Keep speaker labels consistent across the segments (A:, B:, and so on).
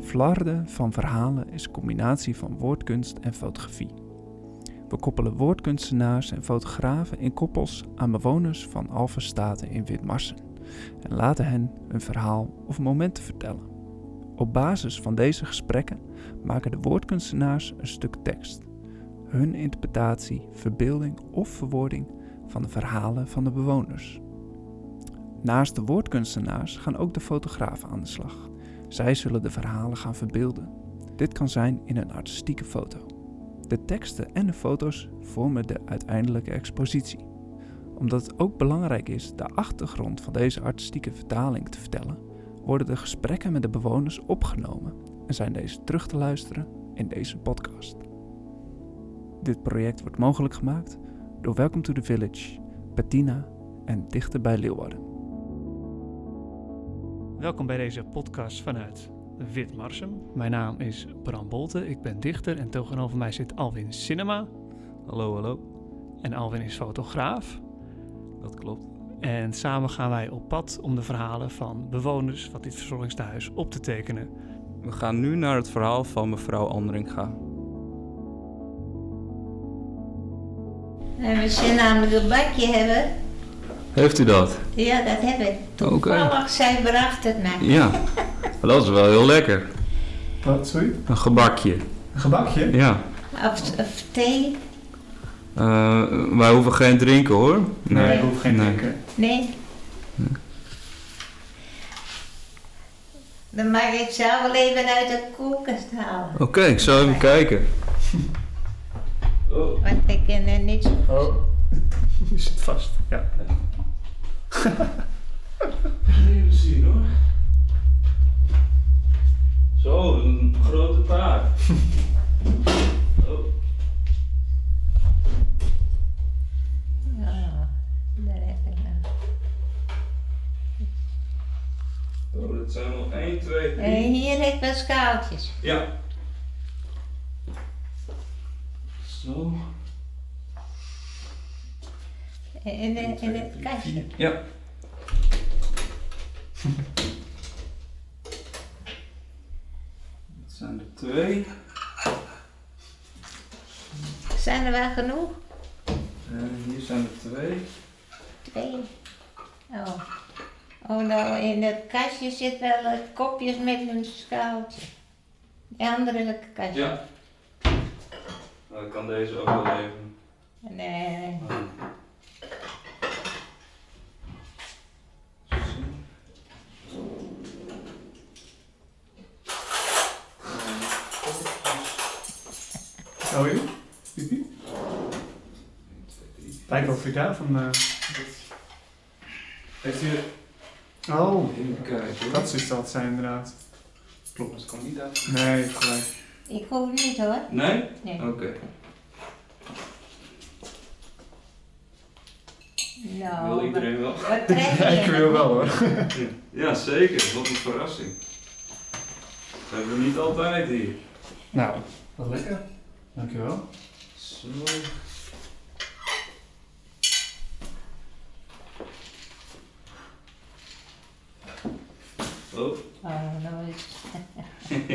A: Flarden van verhalen is een combinatie van woordkunst en fotografie. We koppelen woordkunstenaars en fotografen in koppels aan bewoners van Alphenstaten in Witmarsen en laten hen hun verhaal of momenten vertellen. Op basis van deze gesprekken maken de woordkunstenaars een stuk tekst. Hun interpretatie, verbeelding of verwoording van de verhalen van de bewoners. Naast de woordkunstenaars gaan ook de fotografen aan de slag. Zij zullen de verhalen gaan verbeelden. Dit kan zijn in een artistieke foto. De teksten en de foto's vormen de uiteindelijke expositie. Omdat het ook belangrijk is de achtergrond van deze artistieke vertaling te vertellen, worden de gesprekken met de bewoners opgenomen en zijn deze terug te luisteren in deze podcast. Dit project wordt mogelijk gemaakt door Welcome to the Village, Bettina en Dichter bij Leeuwarden.
B: Welkom bij deze podcast vanuit Witmarsum. Mijn naam is Bram Bolte, ik ben dichter en tegenover mij zit Alwin Cinema.
C: Hallo, hallo.
B: En Alwin is fotograaf.
C: Dat klopt.
B: En samen gaan wij op pad om de verhalen van bewoners van dit verzorgingstehuis op te tekenen.
C: We gaan nu naar het verhaal van mevrouw Andringa.
D: En Nou, we zullen namelijk een bakje hebben.
C: Heeft u dat?
D: Ja, dat heb ik.
C: Oké.
D: Toevallig, zij bracht het mij.
C: Ja. Dat is wel heel lekker.
E: Wat, sorry?
C: Een gebakje.
E: Een gebakje?
C: Ja.
D: Of, of thee.
C: Eh, wij hoeven geen drinken hoor.
E: ik hoef geen
C: nee.
E: drinken.
D: Nee. Dan mag ik zelf wel even uit de koelkast halen.
C: Oké, ik zal even kijken.
D: Want ik ken er niets van.
E: Oh, je zit vast. Ja.
C: Even zien hoor. Zo, een grote taart. Oh.
D: Ja, daar heb ik nou.
C: Oh, dat zijn wel 1, 2,
D: En Eh, hier heb ik wat schaaltjes.
C: Ja. Zo.
D: In, de, in het kastje.
C: Ja. Dat zijn er twee.
D: Zijn er wel genoeg?
C: En Eh, hier zijn er twee.
D: Twee. Oh. Oh, nou, in dat kastje zit wel eh, kopjes met een schaaltje. Die andere kastje.
C: Ja. Nou, ik kan deze ook wel even.
D: Nee.
E: Hou je? Oh, Pipi? Lijkt wel frikaar van... eh,
C: Heeft u
E: Oh,
C: even kijken hoor.
E: dat is dat zijn inderdaad.
C: klopt, dat kan niet uit.
E: Nee, gelijk.
D: Ik hoef niet hoor.
C: Nee?
D: Nee.
C: Oké.
D: Nou,
C: Wil iedereen wel?
D: wat- wat trek je?
E: ik wil wel hoor.
C: Ja, zeker. Wat een verrassing. Dat hebben we niet altijd hier.
E: Nou, wat lekker. Dankjewel.
C: Zo. Oh.
D: Oh, nou is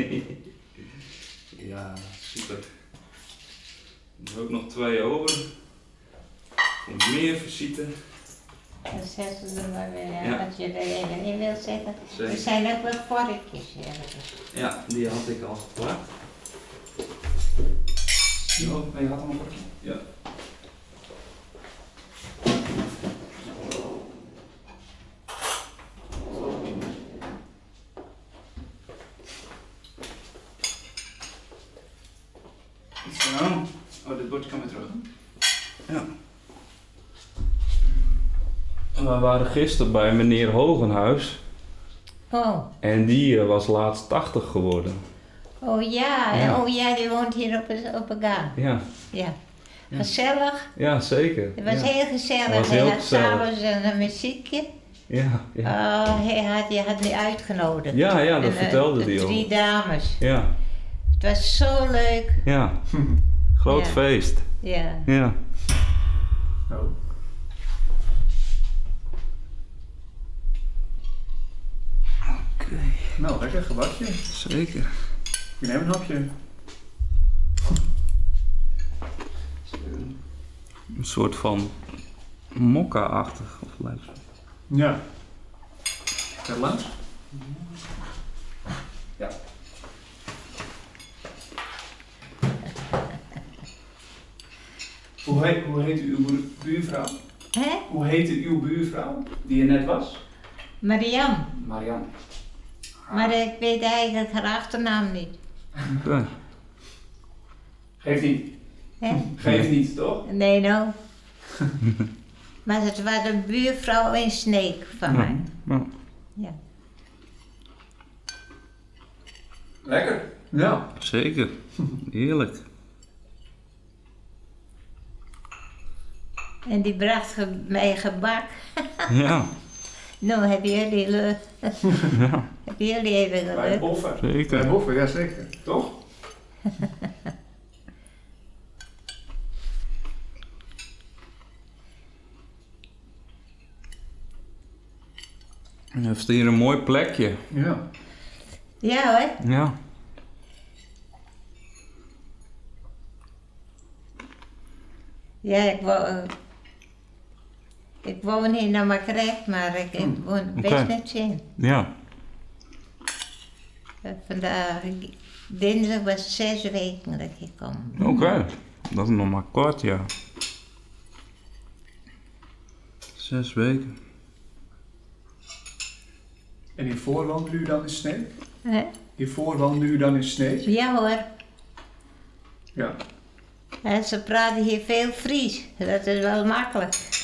C: ja, super. Er is ook nog twee over. Komt meer visite.
D: dan zetten ze er maar weer aan
C: Ja.
D: als je er even in wil zetten. Er
C: Zeker.
D: zijn ook wel vorkjes hier.
C: Ja, die had ik al gepakt. Zo, je had al een potje? Ja. Zo. Oh, dit bordje kan weer terug. Mm. Ja. We waren gisteren bij meneer Hogenhuis
D: Oh,
C: en die eh, was laatst 80 geworden.
D: oh ja.
C: Ja.
D: Oh ja, die woont hier op een, op een gang.
C: Ja,
D: Ja. Gezellig.
C: ja zeker.
D: Het was
C: ja.
D: heel gezellig.
C: Het was heel
D: Hij had
C: gezellig.
D: s'avonds een, een muziekje.
C: Ja, ja.
D: Oh, hij had, je had me uitgenodigd.
C: ja, ja,
D: En,
C: dat
D: eh,
C: vertelde die
D: Drie
C: al.
D: dames.
C: Ja,
D: Het was zo leuk.
C: ja. Groot
D: Ja.
C: feest.
D: Ja.
C: Ja.
E: Oh.
C: Oké.
E: Nou, lekker gebakje.
C: Zeker.
E: Je neemt een hapje.
C: Een soort van mokka-achtig of lijkt het.
E: Ja. Gaat langs? Ja. Hoe heet, hoe heet uw buur- buurvrouw?
D: Hè?
E: Hoe heette uw buurvrouw die je net was?
D: Mariam.
E: Marianne.
D: Maar ik weet eigenlijk haar achternaam niet.
C: Oké.
E: Geeft niet.
D: Hè?
E: Geeft niet, toch?
D: Nee, nou. maar het was de buurvrouw in Sneek van mij.
C: Nou,
E: Lekker. Ja.
C: zeker. Heerlijk.
D: En die bracht ge- mij gebak.
C: Ja,
D: Nou, hebben jullie geluk.
C: ja
D: Hebben jullie even
E: Bij
D: geluk.
E: Boffer.
C: zeker.
E: Boffer, ja zeker. Toch?
C: Je heeft hier een mooi plekje.
E: Ja.
D: Ja hoor.
C: Ja.
D: Ja, ik woon... ik woon hier naar Maastricht, maar ik, ik woon best
C: Hmm, oké.
D: met zin.
C: Ja.
D: Eh, Vandaag, dinsdag was zes weken dat ik hier kom.
C: Oké. Dat is nog maar kort, ja. Zes weken.
E: En hiervoor woonde u dan in Sneek?
D: Hè?
E: Hiervoor woonde u dan in Sneek?
D: Eh, Ja hoor.
E: Ja.
D: En ze praten hier veel Fries. Dat is wel makkelijk.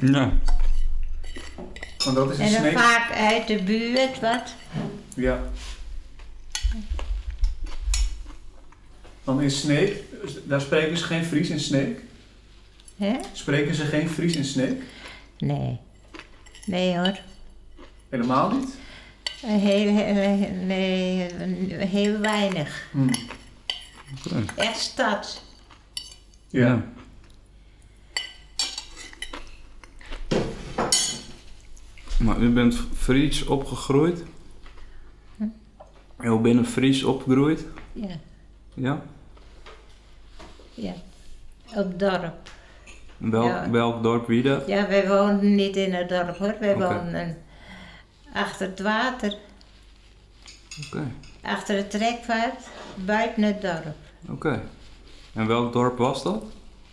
C: Ja.
E: Want dat is in
D: En dan
E: Sneek.
D: vaak uit de buurt wat.
E: Ja. Want in Sneek, daar spreken ze geen Fries in Sneek?
D: Hè?
E: Spreken ze geen Fries in Sneek?
D: Nee. Nee hoor. Eh,
E: Helemaal niet?
D: Heel, heel, nee, heel weinig.
E: Hm.
C: Oké.
D: Echt stad.
E: Ja.
C: Maar u bent Fries opgegroeid? U bent een Fries opgegroeid?
D: Ja,
C: Ja.
D: ja. Op dorp.
C: Wel,
D: Ja.
C: Welk dorp wie dat?
D: Ja, wij woonden niet in het dorp hoor. Wij
C: Oké.
D: woonden achter het water.
C: Oké.
D: Achter het trekvaart. Buiten het dorp.
C: Oké. En welk dorp was dat?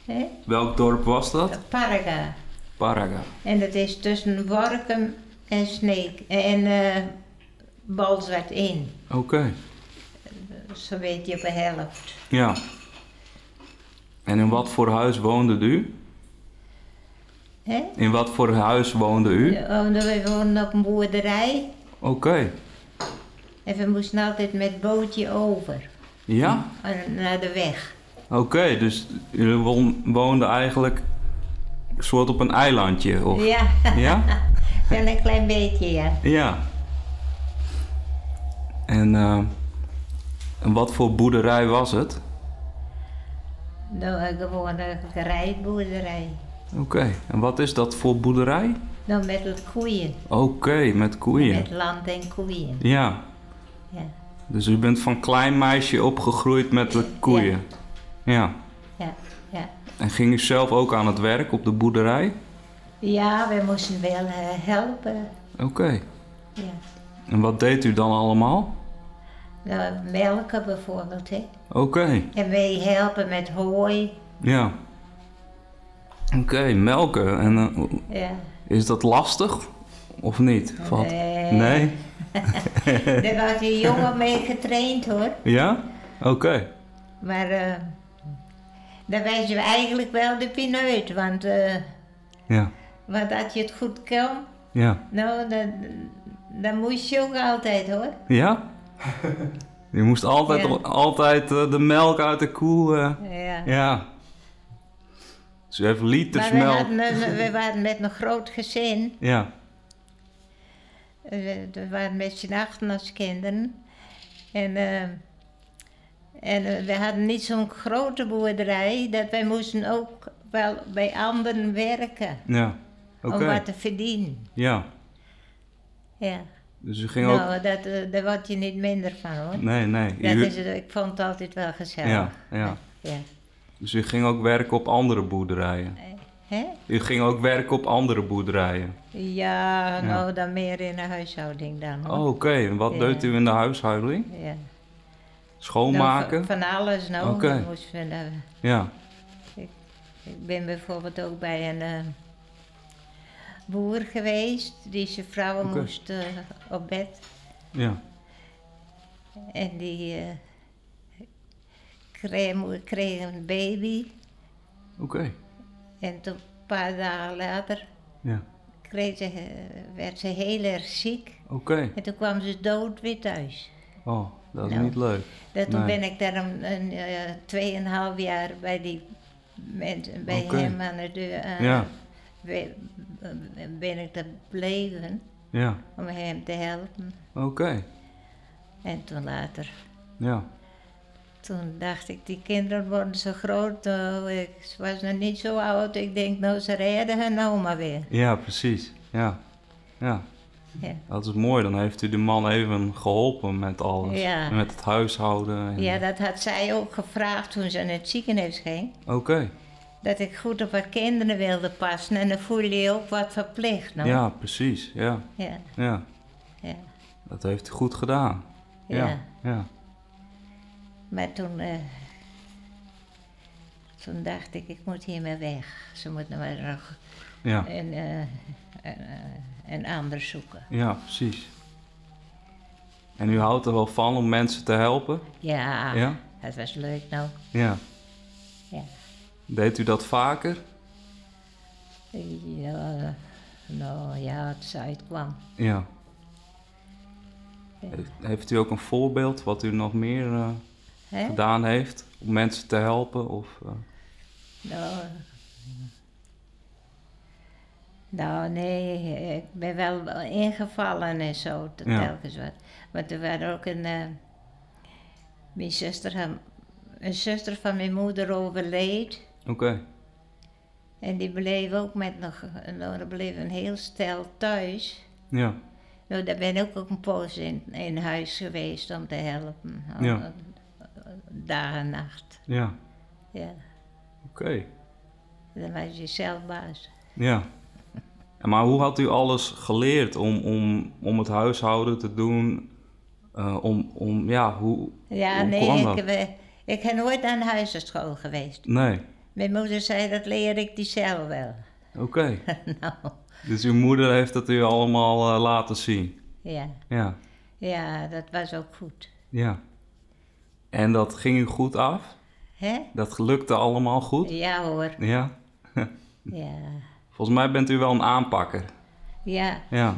D: Hè?
C: Welk dorp was dat?
D: Paraga.
C: Paraga.
D: En dat is tussen Workum en Sneek. En eh Balzwart in.
C: Oké.
D: Zo weet je op de helft.
C: Ja. En in wat voor huis woonde u?
D: Hè? Eh, oh,
C: In wat voor huis woonde u?
D: Ja, omdat we woonden op een boerderij.
C: Oké.
D: En we moesten altijd met bootje over.
C: Ja?
D: eh, Naar de weg.
C: Oké, dus jullie won- woonden eigenlijk een soort op een eilandje? Of?
D: Ja,
C: Ja?
D: wel een klein beetje ja.
C: Ja. En, eh, en wat voor boerderij was het?
D: Nou, een gewone rijboerderij.
C: Oké, en wat is dat voor boerderij?
D: Nou, met de koeien.
C: Oké, met koeien.
D: Met land en koeien.
C: Ja.
D: Ja.
C: Dus u bent van klein meisje opgegroeid met de koeien. Ja.
D: Ja, ja.
C: En ging u zelf ook aan het werk op de boerderij?
D: ja we moesten wel eh, helpen.
C: Oké.
D: Ja.
C: En wat deed u dan allemaal?
D: Nou, melken bijvoorbeeld. Hè.
C: Oké.
D: En mee helpen met hooi.
C: Ja. Oké, melken. En eh,
D: Ja.
C: is dat lastig? Of niet? Of wat?
D: Nee.
C: Nee?
D: Daar was een jongen mee getraind hoor.
C: Ja? Oké.
D: Maar eh daar wijzen we eigenlijk wel de pin uit. Want, eh,
C: Ja.
D: want als je het goed kan,
C: Ja.
D: nou, dan, dan moest je ook altijd hoor.
C: Ja? Je moest altijd,
D: Ja.
C: altijd eh, de melk uit de koe. eh,
D: Ja.
C: ja. Dus u heeft liters
D: Maar we,
C: melk.
D: hadden een- we waren met een groot gezin.
C: Ja.
D: Eh, We, we waren met z'n achten als kinderen. En, eh, en eh, we hadden niet zo'n grote boerderij dat wij moesten ook wel bij anderen werken Oh,
C: Ja. Oké.
D: om wat te verdienen.
C: Ja.
D: Ja.
C: Dus u ging ook...
D: Nou, dat, eh, daar word je niet minder van hoor.
C: Nee, nee.
D: Dat
C: u-
D: is, het- ik vond het altijd wel gezellig.
C: ja, ja.
D: Ja.
C: Dus u ging ook werken op andere boerderijen?
D: Hè?
C: U ging ook werken op andere boerderijen?
D: Ja, nou dan meer in de huishouding dan. hoor.
C: Oh, Oké, en wat
D: Ja.
C: deed u in de huishouding?
D: Ja.
C: Schoonmaken?
D: Nou, van van alles nou.
C: Oké.
D: Dan moesten we naar-
C: Ja,
D: ik ben bijvoorbeeld ook bij een eh, boer geweest die zijn vrouw
C: Oké.
D: moest eh, op bed.
C: ja.
D: En die eh, kreeg, kreeg een baby.
C: Oké,
D: En toen een paar dagen later
C: ja.
D: kreeg ze, eh, werd ze heel erg ziek.
C: Oké.
D: En toen kwam ze dood weer thuis.
C: Oh, dat is
D: Nou.
C: niet leuk.
D: Dat toen
C: Nee.
D: ben ik daar een, een eh, tweeënhalf jaar bij die mensen, bij
C: Oké.
D: hem aan de deur. eh,
C: Ja.
D: we- ben ik daar bleven
C: Ja,
D: om hem te helpen.
C: oké.
D: En toen later,
C: Ja,
D: toen dacht ik, die kinderen worden zo groot. eh, ik was nog niet zo oud. Ik denk, nou, ze redden hun oma weer.
C: ja, precies. Ja. ja,
D: Ja.
C: dat is mooi. Dan heeft u de man even geholpen met alles.
D: Ja.
C: En Met het huishouden. en-
D: ja, dat had zij ook gevraagd toen ze naar het ziekenhuis ging.
C: Oké,
D: Dat ik goed op haar kinderen wilde passen. En dan voel je je ook wat verplicht. Nou.
C: ja, precies. Ja,
D: Ja,
C: ja.
D: ja,
C: Dat heeft u goed gedaan.
D: ja.
C: ja. ja.
D: Maar toen, eh, toen dacht ik, ik moet hier maar weg. Ze moet nou maar nog
C: ja.
D: een, eh, een, eh, een ander zoeken.
C: Ja, precies. En u houdt er wel van om mensen te helpen?
D: Ja,
C: Ja?
D: dat was leuk nou.
C: Ja.
D: Ja.
C: Deed u dat vaker?
D: Ja, nou ja, het ze uitkwam.
C: Ja.
D: Ja.
C: Heeft, heeft u ook een voorbeeld wat u nog meer eh,
D: Hè?
C: gedaan heeft om mensen te helpen? Of, eh,
D: Nou, eh, nou, nee, ik ben wel ingevallen en zo, te-
C: Ja.
D: telkens wat. Want er werd ook een... eh, mijn zuster, had- een zuster van mijn moeder overleed.
C: Oké,
D: En die bleef ook met nog... Nou, er bleef een heel stel thuis.
C: ja.
D: Nou, daar ben ik ook een poos in, in huis geweest om te helpen.
C: Ja.
D: Dag en nacht,
C: Ja,
D: ja.
C: oké.
D: Dan was je zelf baas.
C: Ja. En Maar hoe had u alles geleerd om, om, om het huishouden te doen? Eh, om, om, ja, hoe...
D: Ja,
C: hoe
D: nee,
C: kwam
D: ik,
C: dat?
D: we- ik ben nooit aan huisartschool geweest.
C: Nee,
D: Mijn moeder zei, dat leer ik die zelf wel.
C: oké.
D: nou,
C: Dus uw moeder heeft dat u allemaal eh, laten zien?
D: ja.
C: Ja,
D: Ja, dat was ook goed.
C: ja. En dat ging u goed af?
D: hè?
C: Dat lukte allemaal goed?
D: Ja hoor,
C: Ja.
D: ja.
C: Volgens mij bent u wel een aanpakker.
D: Ja,
C: Ja,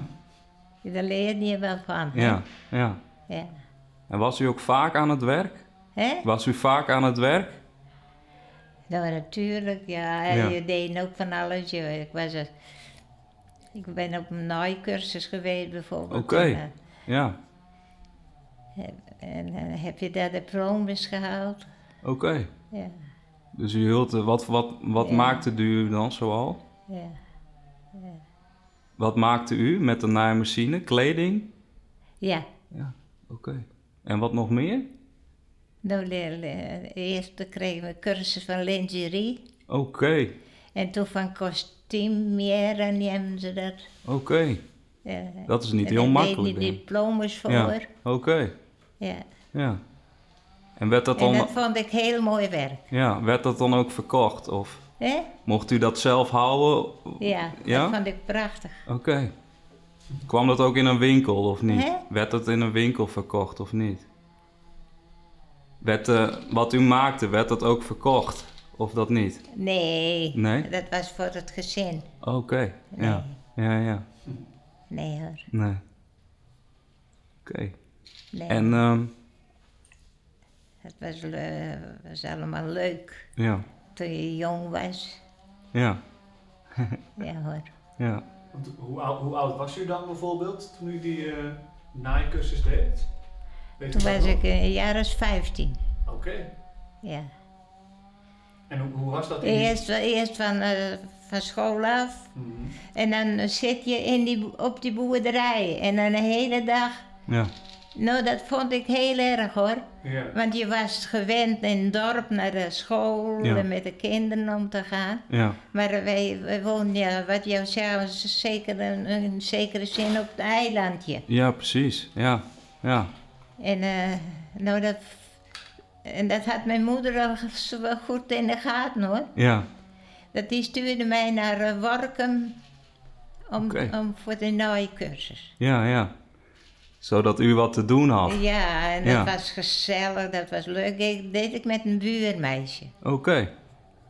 D: daar leer je wel van. hè?
C: ja, ja.
D: Ja.
C: En was u ook vaak aan het werk?
D: Hè?
C: Was u vaak aan het werk?
D: Nou, natuurlijk, ja. En
C: Ja.
D: Je deed ook van alles. Je, ik, was er, ik ben op een naaikursus geweest bijvoorbeeld.
C: Oké.
D: En, eh,
C: Ja,
D: en, eh, heb je daar de promes gehaald?
C: oké.
D: Ja,
C: Dus u hield, eh, wat, wat, wat
D: Ja.
C: maakte u dan zoal?
D: ja.
C: Wat maakte u met de naaimachine? Kleding?
D: Ja,
C: Oké. En wat nog meer?
D: nou, leer, leer- eerst kregen we een cursus van lingerie.
C: Oké,
D: En toen van costumière nemen ze dat.
C: oké.
D: eh,
C: Dat is niet
D: en
C: heel
D: daar
C: makkelijk.
D: deden die
C: denk ik.
D: diplomas voor.
C: Ja,
D: Ja.
C: oké. Ja. En werd dat,
D: En
C: dan,
D: dat vond ik heel mooi werk.
C: ja, werd dat dan ook verkocht? Of
D: Hè?
C: mocht u dat zelf houden?
D: Ja,
C: Ja?
D: dat vond ik prachtig.
C: Oké. Kwam dat ook in een winkel of niet?
D: Hè?
C: Werd dat in een winkel verkocht of niet? Werd, eh, wat u maakte, werd dat ook verkocht? Of dat niet?
D: Nee,
C: Nee?
D: dat was voor het gezin.
C: Oké. Ja. Ja, ja.
D: Nee hoor,
C: Nee. Oké.
D: nee.
C: En, ehm,
D: Het was, le- was allemaal leuk
C: ja.
D: toen je jong was.
C: Ja.
D: Ja hoor.
C: Ja.
E: Want hoe, oud, hoe oud was u dan bijvoorbeeld toen u die eh, naaikursus deed? Weet u
D: Toen
E: dat
D: was
E: nog?
D: ik een jaar of 15.
E: Oké.
D: Ja.
B: En hoe, hoe was dat? in die-
D: Eerst, eerst van, eh, van school af.
B: Mhm.
D: En dan zit je in die, op die boerderij. En dan de hele dag.
C: Ja.
D: Nou, dat vond ik heel erg hoor.
B: Ja.
D: Want je was gewend in het dorp naar de school
C: Ja.
D: en met de kinderen om te gaan.
C: Ja.
D: Maar wij, wij woonden, ja, wat jou zegt, zeker een, een zekere zin op het eilandje.
C: Ja, precies. Ja. Ja.
D: En, eh, nou, dat, en dat had mijn moeder al zo wel goed in de gaten hoor.
C: Ja.
D: Dat die stuurde mij naar eh, Workum om,
C: Oké.
D: om voor de naaikursus.
C: Ja, ja. Zodat u wat te doen had.
D: Ja, en
C: Ja.
D: dat was gezellig, dat was leuk. Ik deed ik met een buurmeisje.
C: Oké.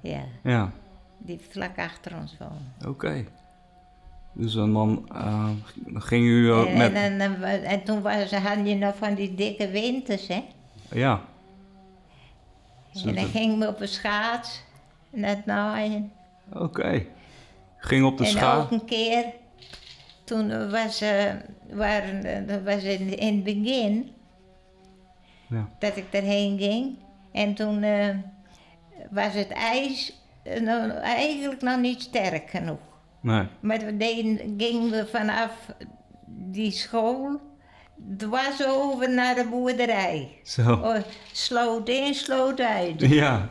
D: Ja,
C: Ja.
D: die vlak achter ons woonde.
C: Oké. Dus en dan eh, ging u eh,
D: en,
C: met...
D: en, dan- dan- en toen was, had je nog van die dikke winters, hè.
C: ja. Zo
D: En dan
C: dat-
D: ging we op een schaats naar het naaien.
C: Oké. Ging op de
D: en
C: schaal.
D: ook een keer, toen was, eh, waren, eh, dat was in, in het begin
C: Ja.
D: dat ik erheen ging. En toen eh, was het ijs eh, nou, eigenlijk nog niet sterk genoeg.
C: Nee.
D: Maar we deden, gingen we vanaf die school dwars over naar de boerderij.
C: Zo.
D: Oh, sloot in, sloot uit.
C: Ja.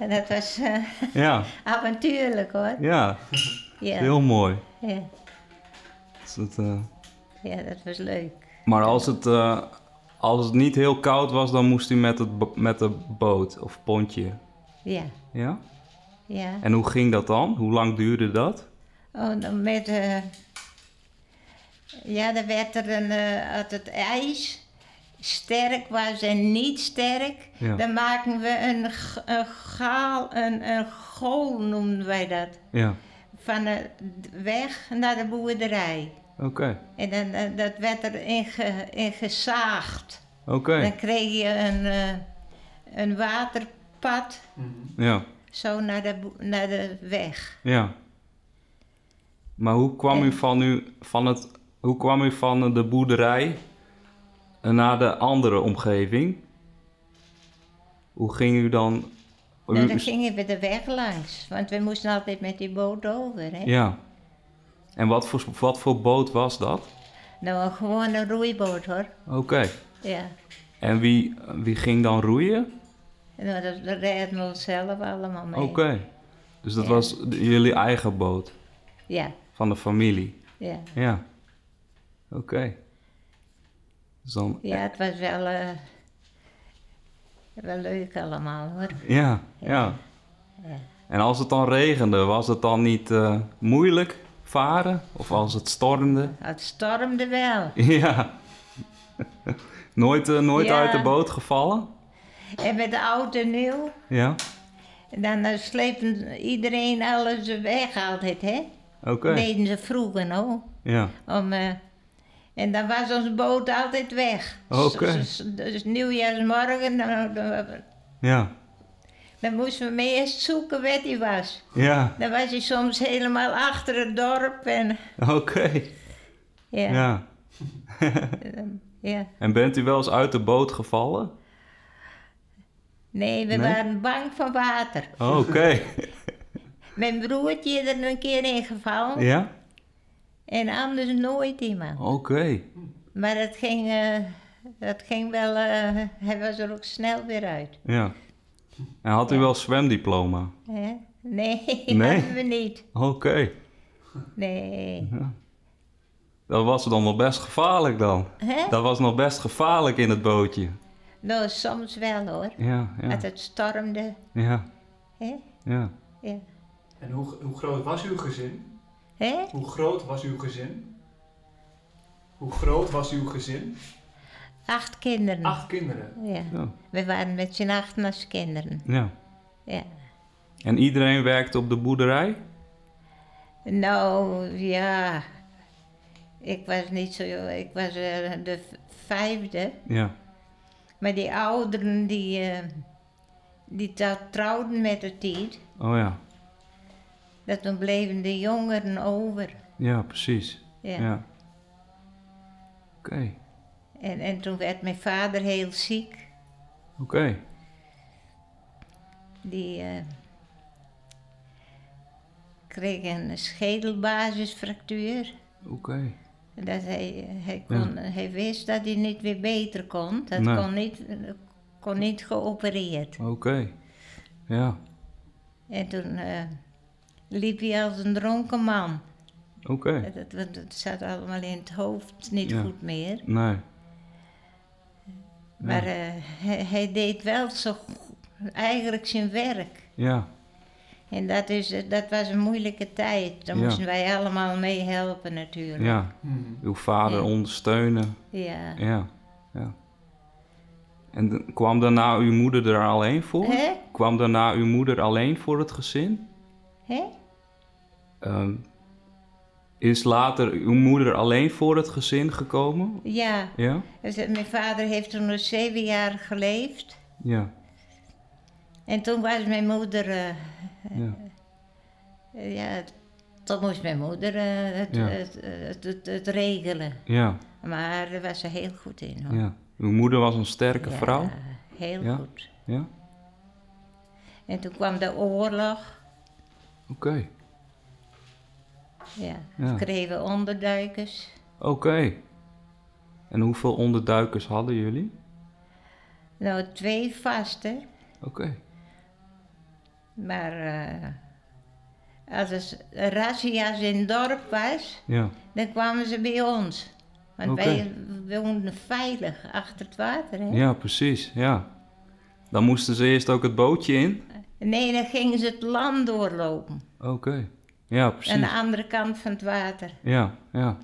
D: En dat was eh,
C: Ja.
D: avontuurlijk hoor.
C: Ja.
D: Ja.
C: Heel mooi.
D: Ja.
C: Dus dat, eh,
D: ja, dat was leuk.
C: Maar als het, eh, als het niet heel koud was, dan moest u met, het, bo- met de boot of pontje.
D: Ja,
C: Ja?
D: ja.
C: En hoe ging dat dan? Hoe lang duurde dat?
D: Oh, dan met... eh, ja, dan werd er een... eh, als het ijs sterk was en niet sterk...
C: Ja.
D: dan maken we een, g- een gaal, een, een goal noemden wij dat.
C: Ja.
D: Van de weg naar de boerderij.
C: Oké.
D: En dan, eh, dat werd erin ge, in gezaagd.
C: Oké.
D: Dan kreeg je een, eh, een waterpad
B: Mhm.
C: Ja.
D: zo naar de, bo- naar de weg.
C: Ja. Maar hoe kwam u
D: En-
C: van, u, van, het, hoe kwam u van eh, de boerderij naar de andere omgeving? Hoe ging u dan...
D: Nou,
C: Oh, u-
D: dan gingen we de weg langs, want we moesten altijd met die boot over. Hè?
C: ja. En wat voor, wat voor boot was dat?
D: Nou, gewoon een roeiboot hoor.
C: Oké.
D: Ja.
C: En wie, wie ging dan roeien?
D: En Nou, dat, dat redden we onszelf allemaal mee.
C: Oké. Dus dat
D: Ja.
C: was de- jullie eigen boot
D: Ja,
C: van de familie.
D: ja.
C: Ja. Oké. Dus dan.
D: Ja, het was wel, eh, wel leuk allemaal hoor.
C: Ja, ja. En als het dan regende, was het dan niet eh, moeilijk varen? Of als het stormde?
D: Het stormde wel.
C: Ja. nooit eh, nooit
D: Ja.
C: uit de boot gevallen?
D: En met de oud en nieuw,
C: Ja.
D: dan eh, slepen iedereen alles weg altijd hè.
C: Oké.
D: Deden ze vroeger nou.
C: Ja.
D: Om, eh, en dan was ons boot altijd weg.
C: Oké.
D: S- s- Dus nieuwjaarsmorgen, dan, dan,
C: Ja.
D: dan moesten we hem eerst zoeken waar hij was.
C: Ja.
D: Dan was hij soms helemaal achter het dorp. En,
C: Oké.
D: ja, ja.
C: Ja. En bent u wel eens uit de boot gevallen?
D: Nee, we
C: Nee?
D: waren bang van water.
C: Oké.
D: Mijn broertje is er een keer in gevallen.
C: Ja?
D: En anders nooit iemand.
C: Oké.
D: Maar dat ging, eh, dat ging wel... eh, hij was er ook snel weer uit.
C: Ja. En had u wel zwemdiploma?
D: Hè? Nee,
C: Nee?
D: hadden we niet.
C: Oké.
D: Nee.
C: Dat was dan nog best gevaarlijk dan.
D: Hè?
C: Dat was nog best gevaarlijk in het bootje.
D: Nou, soms wel hoor.
C: Ja, ja.
D: Als het stormde.
C: Ja,
D: Hè?
C: ja.
D: Ja.
E: En hoe, hoe groot was uw gezin?
D: Hè?
E: Hoe groot was uw gezin? Hoe groot was uw gezin?
D: Acht kinderen.
E: Acht kinderen.
D: Ja.
C: Ja.
D: We waren met z'n achten als kinderen.
C: ja.
D: Ja.
C: En iedereen werkte op de boerderij?
D: Nou, ja. Ik was niet zo... Ik was eh, de v- vijfde.
C: Ja.
D: Maar die ouderen die... eh, die trouw- trouwden met de tijd.
C: Oh ja.
D: Dat toen bleven de jongeren over.
C: Ja, precies.
D: Ja.
C: Ja. Oké.
D: En, en toen werd mijn vader heel ziek.
C: Oké.
D: Die eh, kreeg een schedelbasisfractuur.
C: Oké.
D: Dat hij, hij, kon, hij wist dat hij niet weer beter kon. Dat
C: Nee.
D: kon, niet, kon niet geopereerd.
C: Oké. Ja.
D: En toen eh, liep hij als een dronken man.
C: Oké.
D: Dat, dat, dat zat allemaal in het hoofd niet
C: Ja.
D: goed meer.
C: Nee.
D: Maar eh, hij, hij deed wel zo go- eigenlijk zijn werk.
C: Ja.
D: En dat, is, eh, dat was een moeilijke tijd. Daar
C: Ja.
D: moesten wij allemaal mee helpen natuurlijk.
C: Ja.
E: Hmm.
C: Uw vader
D: Ja.
C: ondersteunen.
D: Ja.
C: Ja. Ja. En d- kwam daarna uw moeder er alleen voor?
D: Hè?
C: Kwam daarna uw moeder alleen voor het gezin?
D: Hè?
C: Ehm, is later uw moeder alleen voor het gezin gekomen?
D: Ja.
C: Ja?
D: Dus, eh, mijn vader heeft toen nog zeven jaar geleefd.
C: Ja.
D: En toen was mijn moeder... eh,
C: Ja.
D: eh, ja, toen moest mijn moeder eh, het,
C: Ja.
D: het, het, het- het regelen.
C: Ja.
D: Maar daar was ze heel goed in. hoor.
C: ja. Uw moeder was een sterke
D: Ja,
C: vrouw?
D: Heel
C: Ja.
D: goed.
C: Ja.
D: En toen kwam de oorlog.
C: Oké.
D: Ja,
C: Ja.
D: kregen we onderduikers.
C: Oké. En hoeveel onderduikers hadden jullie?
D: Nou, twee vaste,
C: Oké.
D: maar eh, als er s- razzia's in het dorp was,
C: Ja.
D: dan kwamen ze bij ons. Want
C: Oké.
D: wij woonden veilig achter het water. Hè?
C: Ja, precies. Ja. Dan moesten ze eerst ook het bootje in?
D: Nee, dan gingen ze het land doorlopen,
C: Oké. Ja, precies.
D: aan de andere kant van het water.
C: Ja, ja,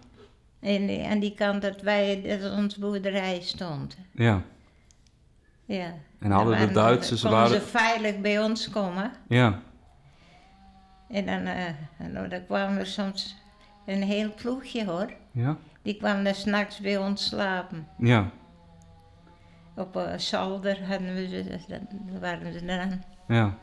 D: En eh, aan die kant dat wij, dat onze boerderij stond.
C: ja.
D: Ja.
C: En hadden
D: Dan
C: de
D: waren-
C: Duitsers...
D: konden
C: Waren...
D: ze veilig bij ons komen.
C: Ja,
D: En dan, eh, nou, dan kwam er soms een heel ploegje hoor.
C: ja,
D: Die kwam dan s'nachts bij ons slapen.
C: ja,
D: Op een zolder hadden we ze, dus dan waren ze dan.
C: ja.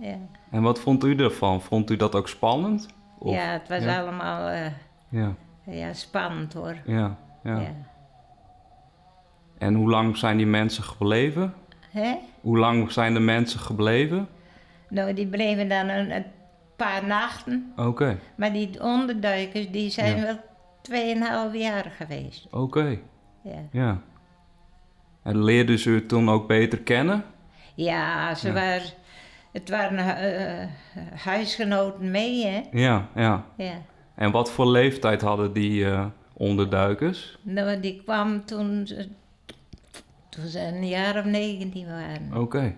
D: Ja,
C: En wat vond u ervan? Vond u dat ook spannend? Of-
D: ja het was
C: ja.
D: allemaal eh,
C: Ja,
D: ja, spannend hoor.
C: ja, ja.
D: Ja.
C: En hoe lang zijn die mensen gebleven?
D: Hè?
C: Hoe lang zijn de mensen gebleven?
D: Nou, die bleven dan een, een paar nachten.
C: Oké,
D: Maar die onderduikers, die zijn
C: Ja.
D: wel tweeënhalf jaar geweest.
C: oké,
D: Ja,
C: ja. En leerden ze u toen ook beter kennen?
D: ja ze
C: Ja.
D: waren... Het waren eh, huisgenoten mee, hè?
C: Ja, ja.
D: Ja.
C: En wat voor leeftijd hadden die eh, onderduikers?
D: Nou, die kwam toen ze, toen ze een jaar of 19 waren.
C: Oké.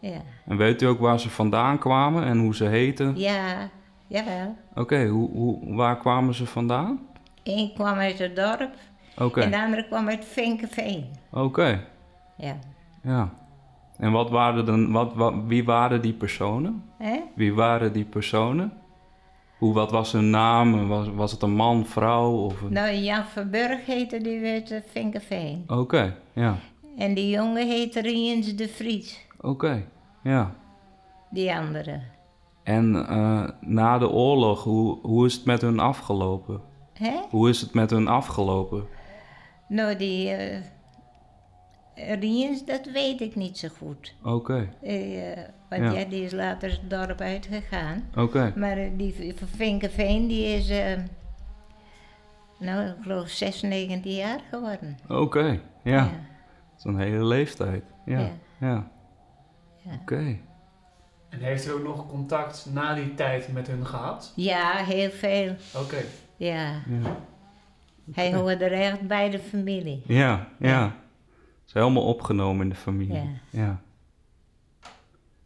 D: Ja.
C: En weet u ook waar ze vandaan kwamen en hoe ze heten?
D: ja, jawel.
C: Oké, hoe, hoe, waar kwamen ze vandaan?
D: Eén kwam uit het dorp
C: Oké,
D: en de andere kwam uit Vinkenveen.
C: oké,
D: Ja.
C: ja. En wat waren dan, wat, wat, wie waren die personen?
D: Hè?
C: Wie waren die personen? Hoe, wat was hun naam? Was, was het een man, vrouw of een...
D: Nou, Jan Verburg heette die uit eh, Vinkenveen.
C: Oké, ja,
D: En die jongen heette Riens de Vries,
C: oké, ja.
D: die andere.
C: En eh, na de oorlog, hoe, hoe is het met hun afgelopen?
D: Hè?
C: Hoe is het met hun afgelopen?
D: Nou, die eh Riens, dat weet ik niet zo goed.
C: Oké,
D: Eh, want
C: Ja.
D: ja. die is later het dorp uitgegaan.
C: oké,
D: Maar eh, die v- van Vinkenveen, die is, eh, nou, ik geloof 96 jaar geworden.
C: oké, ja. Dat is een hele leeftijd. Ja. Ja.
D: Ja.
C: Oké.
D: Ja.
E: En heeft u ook nog contact na die tijd met hun gehad?
D: Ja, heel veel,
E: Oké.
D: ja.
C: Ja.
D: Hij hoorde er echt bij de familie.
C: Ja, ja. Is helemaal opgenomen in de familie. Ja.
D: Ja.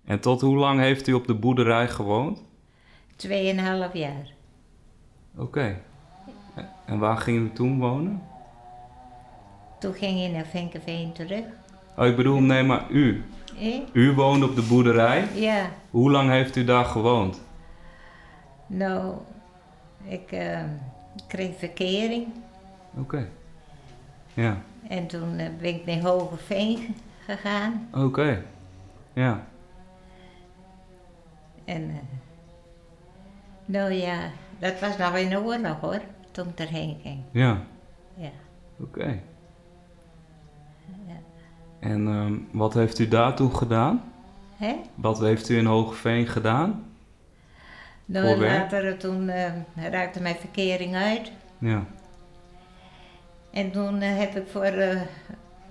C: En tot hoe lang heeft u op de boerderij gewoond?
D: Tweeënhalf jaar.
C: Oké. En waar ging u toen wonen?
D: Toen ging hij naar Vinkenveen terug.
C: Oh, ik bedoel, nee, maar u.
D: Eh?
C: U woonde op de boerderij.
D: Ja,
C: Hoe lang heeft u daar gewoond?
D: nou, ik eh, kreeg verkering.
C: Oké. Ja,
D: En toen eh, ben ik naar Hogeveen ge- gegaan.
C: oké. Ja,
D: En, eh, nou ja, dat was nog in de oorlog hoor, toen ik erheen ging.
C: ja,
D: Ja.
C: oké. En ehm, wat heeft u daar toen gedaan?
D: Hè?
C: Wat heeft u in Hogeveen gedaan?
D: Nou,
C: Voor werk?
D: later, toen eh, raakte mijn verkering uit.
C: Ja.
D: En toen eh, heb ik voor eh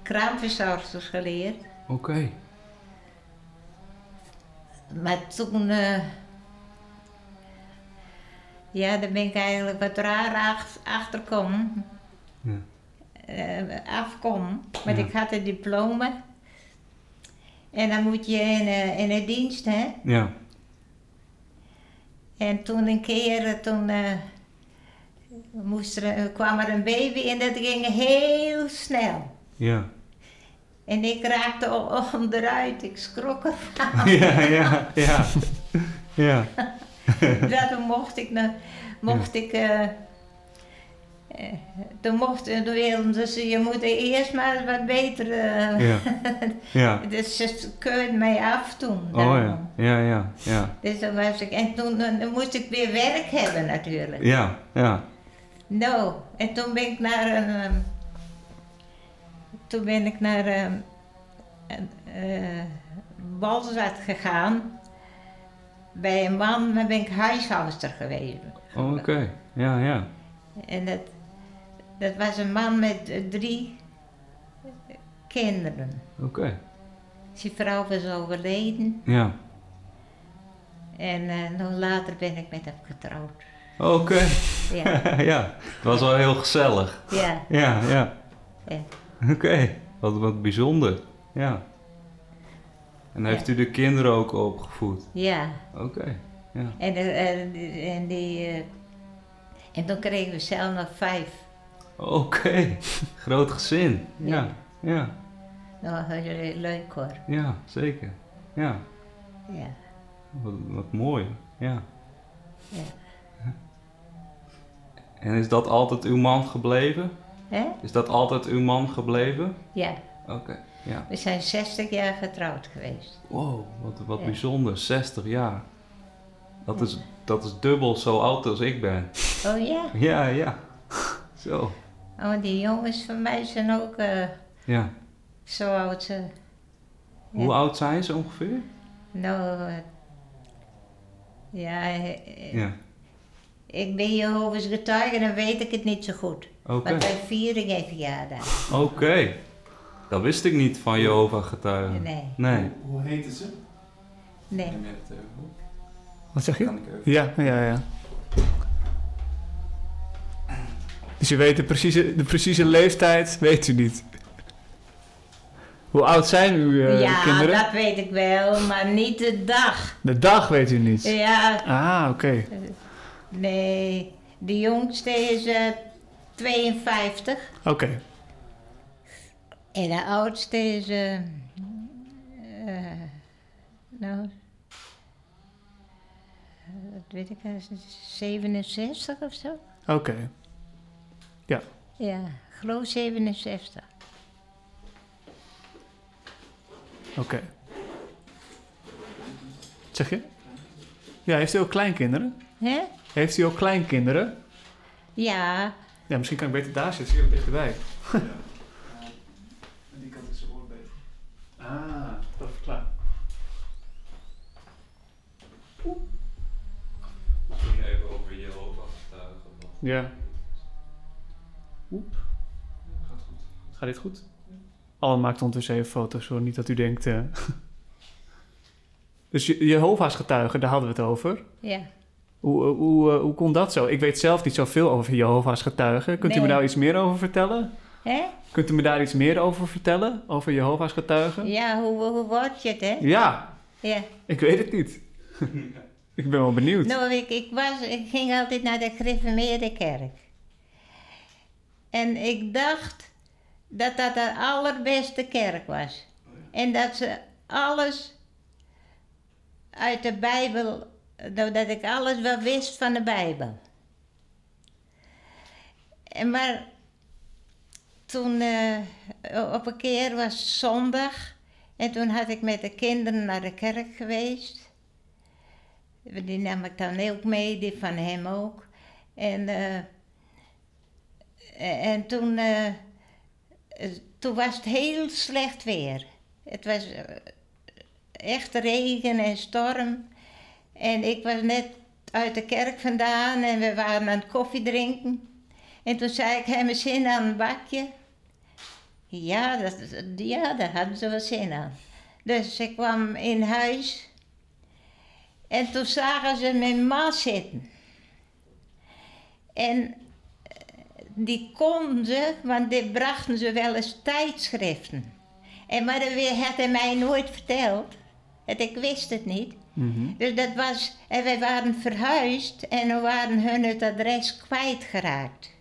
D: kraamverzorgsters geleerd.
C: Oké.
D: Maar toen, eh, ja, daar ben ik eigenlijk wat raar ach- achterkom.
C: Ja.
D: Eh, afkom. Want
C: Ja.
D: ik had een diploma. En dan moet je in, eh, in de dienst, hè?
C: Ja.
D: En toen een keer, eh, toen eh, moest er, eh, kwam er een baby en dat ging heel snel.
C: Ja.
D: En ik raakte o- onderuit, ik schrok ervan.
C: ja, ja, ja. Ja.
D: Daarom mocht ik, nou- mocht ik, eh, eh, toen mocht, toen wilden dus je moet eerst maar wat beter, eh,
C: Ja. Ja.
D: dus ze keurden mij af toen.
C: Oh
D: daarom.
C: ja. Ja, ja, ja.
D: Dus dan was ik, en toen, eh, moest ik weer werk hebben natuurlijk.
C: Ja, ja.
D: Nou, en toen ben ik naar een. ehm, toen ben ik naar ehm, een eh, Balzat gegaan. Bij een man, daar ben ik huishoudster geweest.
C: Oh, Oké. Ja, ja.
D: En dat, dat was een man met eh, drie kinderen.
C: Oké.
D: Zijn vrouw was overleden
C: Ja.
D: en eh, nog later ben ik met hem getrouwd.
C: Oké.
D: Ja,
C: ja. Het was wel heel gezellig.
D: ja.
C: Ja, ja.
D: Ja.
C: Oké. Wat, wat bijzonder. Ja. En heeft u de kinderen ook opgevoed?
D: ja.
C: Oké. Ja.
D: En, eh, en, en die. eh, en dan kregen we zelf nog vijf.
C: Oké. Groot gezin. Ja. Ja.
D: Nou, heel leuk hoor.
C: Ja, zeker. Ja.
D: Ja.
C: Wat, wat mooi, ja.
D: Ja.
C: En is dat altijd uw man gebleven?
D: Hè?
C: Is dat altijd uw man gebleven?
D: ja,
C: Oké, ja.
D: we zijn 60 jaar getrouwd geweest.
C: Wow, wat, wat
D: Ja.
C: bijzonder, 60 jaar. Dat is, dat is dubbel zo oud als ik ben.
D: Oh ja,
C: Ja, ja. Zo,
D: oh, die jongens van mij zijn ook eh,
C: ja.
D: zo oud. ze-
C: Hoe oud zijn ze ongeveer?
D: nou, eh, ja, eh,
C: Ja,
D: ik ben Jehovah's getuige, dan weet ik het niet zo goed.
C: oké.
D: Want wij vieren geen verjaardag.
C: Oké. Dat wist ik niet van Jehovah getuigen.
D: Nee,
C: Nee.
E: Hoe heten ze?
D: nee.
F: Wat zeg je?
E: ik even.
F: Ja, ja, ja. Dus je weet de precieze, de precieze leeftijd, weet u niet. Hoe oud zijn uw eh,
D: ja,
F: kinderen?
D: dat weet ik wel, maar niet de dag.
F: De dag weet u niet.
D: Ja,
F: Ah, oké.
D: nee. De jongste is eh, 52.
F: Oké.
D: En de oudste is. eh, eh, nou. Wat weet ik, eh, 67 of zo?
F: Oké.
D: Ja, ik geloof 67.
F: Oké. Wat Zeg je? Ja, heeft u ook kleinkinderen?
D: Hè?
F: Heeft u ook kleinkinderen?
D: Ja,
F: Ja, misschien kan ik beter daar zitten, zie je ook dichterbij.
E: Aan die kant is zijn oor beter. Ah, dat verklaart.
C: Misschien even over Jehovah getuigen.
F: Ja.
C: Gaat goed.
F: Gaat dit goed? Al maakt ondertussen even foto's hoor, niet dat u denkt. eh. dus Je- Jehovah's getuigen, daar hadden we het over.
D: ja.
F: Hoe, eh, hoe, eh, hoe kon dat zo? Ik weet zelf niet zoveel over Jehovah's getuigen. Kunt u me
D: Nee.
F: daar iets meer over vertellen?
D: Hè?
F: Kunt u me daar iets meer over vertellen? Over Jehovah's getuigen?
D: Ja, hoe, hoe word je het, hè?
F: Ja,
D: Ja.
F: ik weet het niet. ik ben wel benieuwd.
D: Nou, ik, ik, was, ik ging altijd naar de gereformeerde kerk. En ik dacht dat dat de allerbeste kerk was. En dat ze alles uit de Bijbel, nou, dat ik alles wel wist van de Bijbel. En maar toen, eh, op een keer was zondag, en toen had ik met de kinderen naar de kerk geweest. Die nam ik dan ook mee, die van hem ook. En, eh, en toen, eh, eh, toen was het heel slecht weer. Het was eh, echt regen en storm. En ik was net uit de kerk vandaan en we waren aan het koffie drinken. En toen zei ik, hebben we zin aan een bakje? Ja, dat, ja, daar hadden ze wel zin aan. Dus ik kwam in huis. En toen zagen ze mijn ma zitten. En eh, die konden ze, want die brachten ze wel eens tijdschriften. En maar dat weer had hij mij nooit verteld. Want ik wist het niet. Dus dat was, en wij waren verhuisd en we waren hun het adres kwijtgeraakt.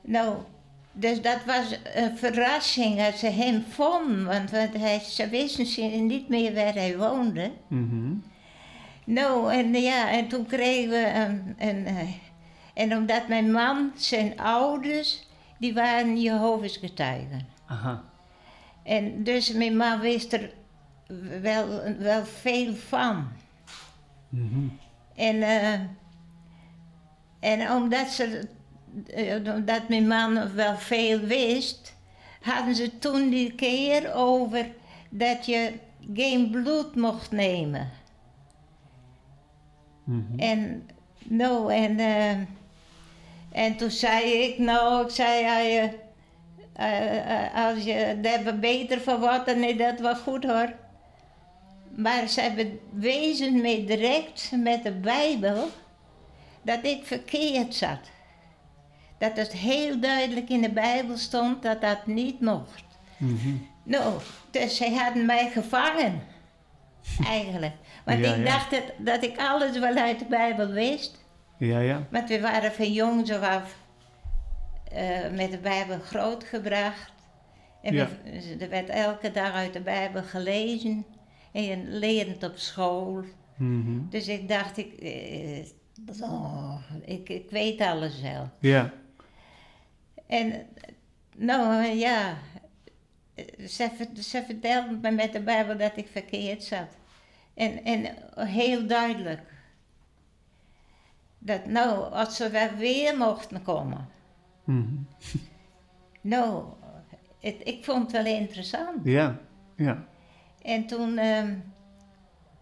D: Nou, dus dat was een verrassing als ze hem vonden, want, want hij, ze wisten ze niet meer waar hij woonde.
F: Mhm.
D: Nou, en ja, en toen kregen we een, een, eh, en omdat mijn man, zijn ouders, die waren Jehovah's getuigen.
B: Aha.
D: En dus mijn ma wist er wel, wel veel van. En, eh, en omdat, ze, eh, omdat mijn man wel veel wist, hadden ze toen die keer over dat je geen bloed mocht nemen. En nou, en, eh, en toen zei ik, nou, ik zei, ja, je, eh, eh, als je daar beter van wordt, dan is dat wel goed hoor. Maar zij bewezen mij direct met de Bijbel dat ik verkeerd zat. Dat het heel duidelijk in de Bijbel stond dat dat niet mocht.
F: Mhm.
D: Nou, dus zij hadden mij gevangen, eigenlijk. Want
F: Ja,
D: ik
F: ja.
D: dacht dat, dat ik alles wel uit de Bijbel wist.
F: Ja, ja.
D: Want we waren van jongs af af eh, met de Bijbel grootgebracht. En
F: Ja.
D: we- er werd elke dag uit de Bijbel gelezen. En je leerde het op school.
F: Mhm.
D: Dus ik dacht, ik, eh, oh, ik, ik weet alles wel.
F: Ja.
D: En eh, nou eh, ja, eh, ze, ver- ze vertelde me met de Bijbel dat ik verkeerd zat. En, en heel duidelijk. Dat nou, als ze wel weer mochten komen.
F: Mhm.
D: Nou, het, ik vond het wel interessant.
F: Ja. Ja.
D: En toen, ehm,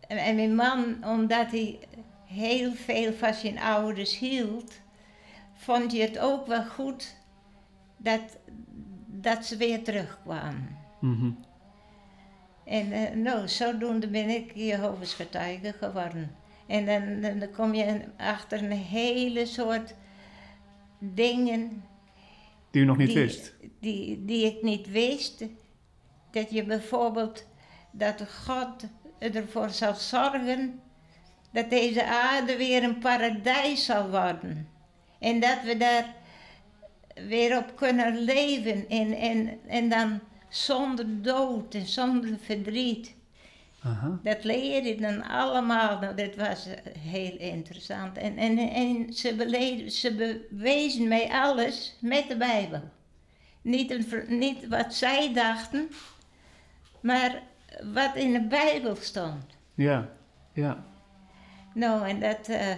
D: en, en mijn man, omdat hij heel veel van zijn ouders hield, vond hij het ook wel goed dat, dat ze weer terugkwamen.
F: Mhm.
D: En eh, nou, zodoende ben ik Jehovah's getuige geworden. En dan, dan, dan kom je achter een hele soort dingen
F: Die u nog niet
D: die,
F: wist.
D: Die, die ik niet wist. Dat je bijvoorbeeld, dat God ervoor zal zorgen dat deze aarde weer een paradijs zal worden. En dat we daar weer op kunnen leven en, en, en dan zonder dood en zonder verdriet.
F: Aha.
D: Dat leerde ik dan allemaal. Nou, dat was eh, heel interessant. En, en, en ze, beleefden- ze bewezen mij alles met de Bijbel. Niet, een, ver- niet wat zij dachten, maar wat in de Bijbel stond.
F: Ja. Ja.
D: Nou, en dat. eh,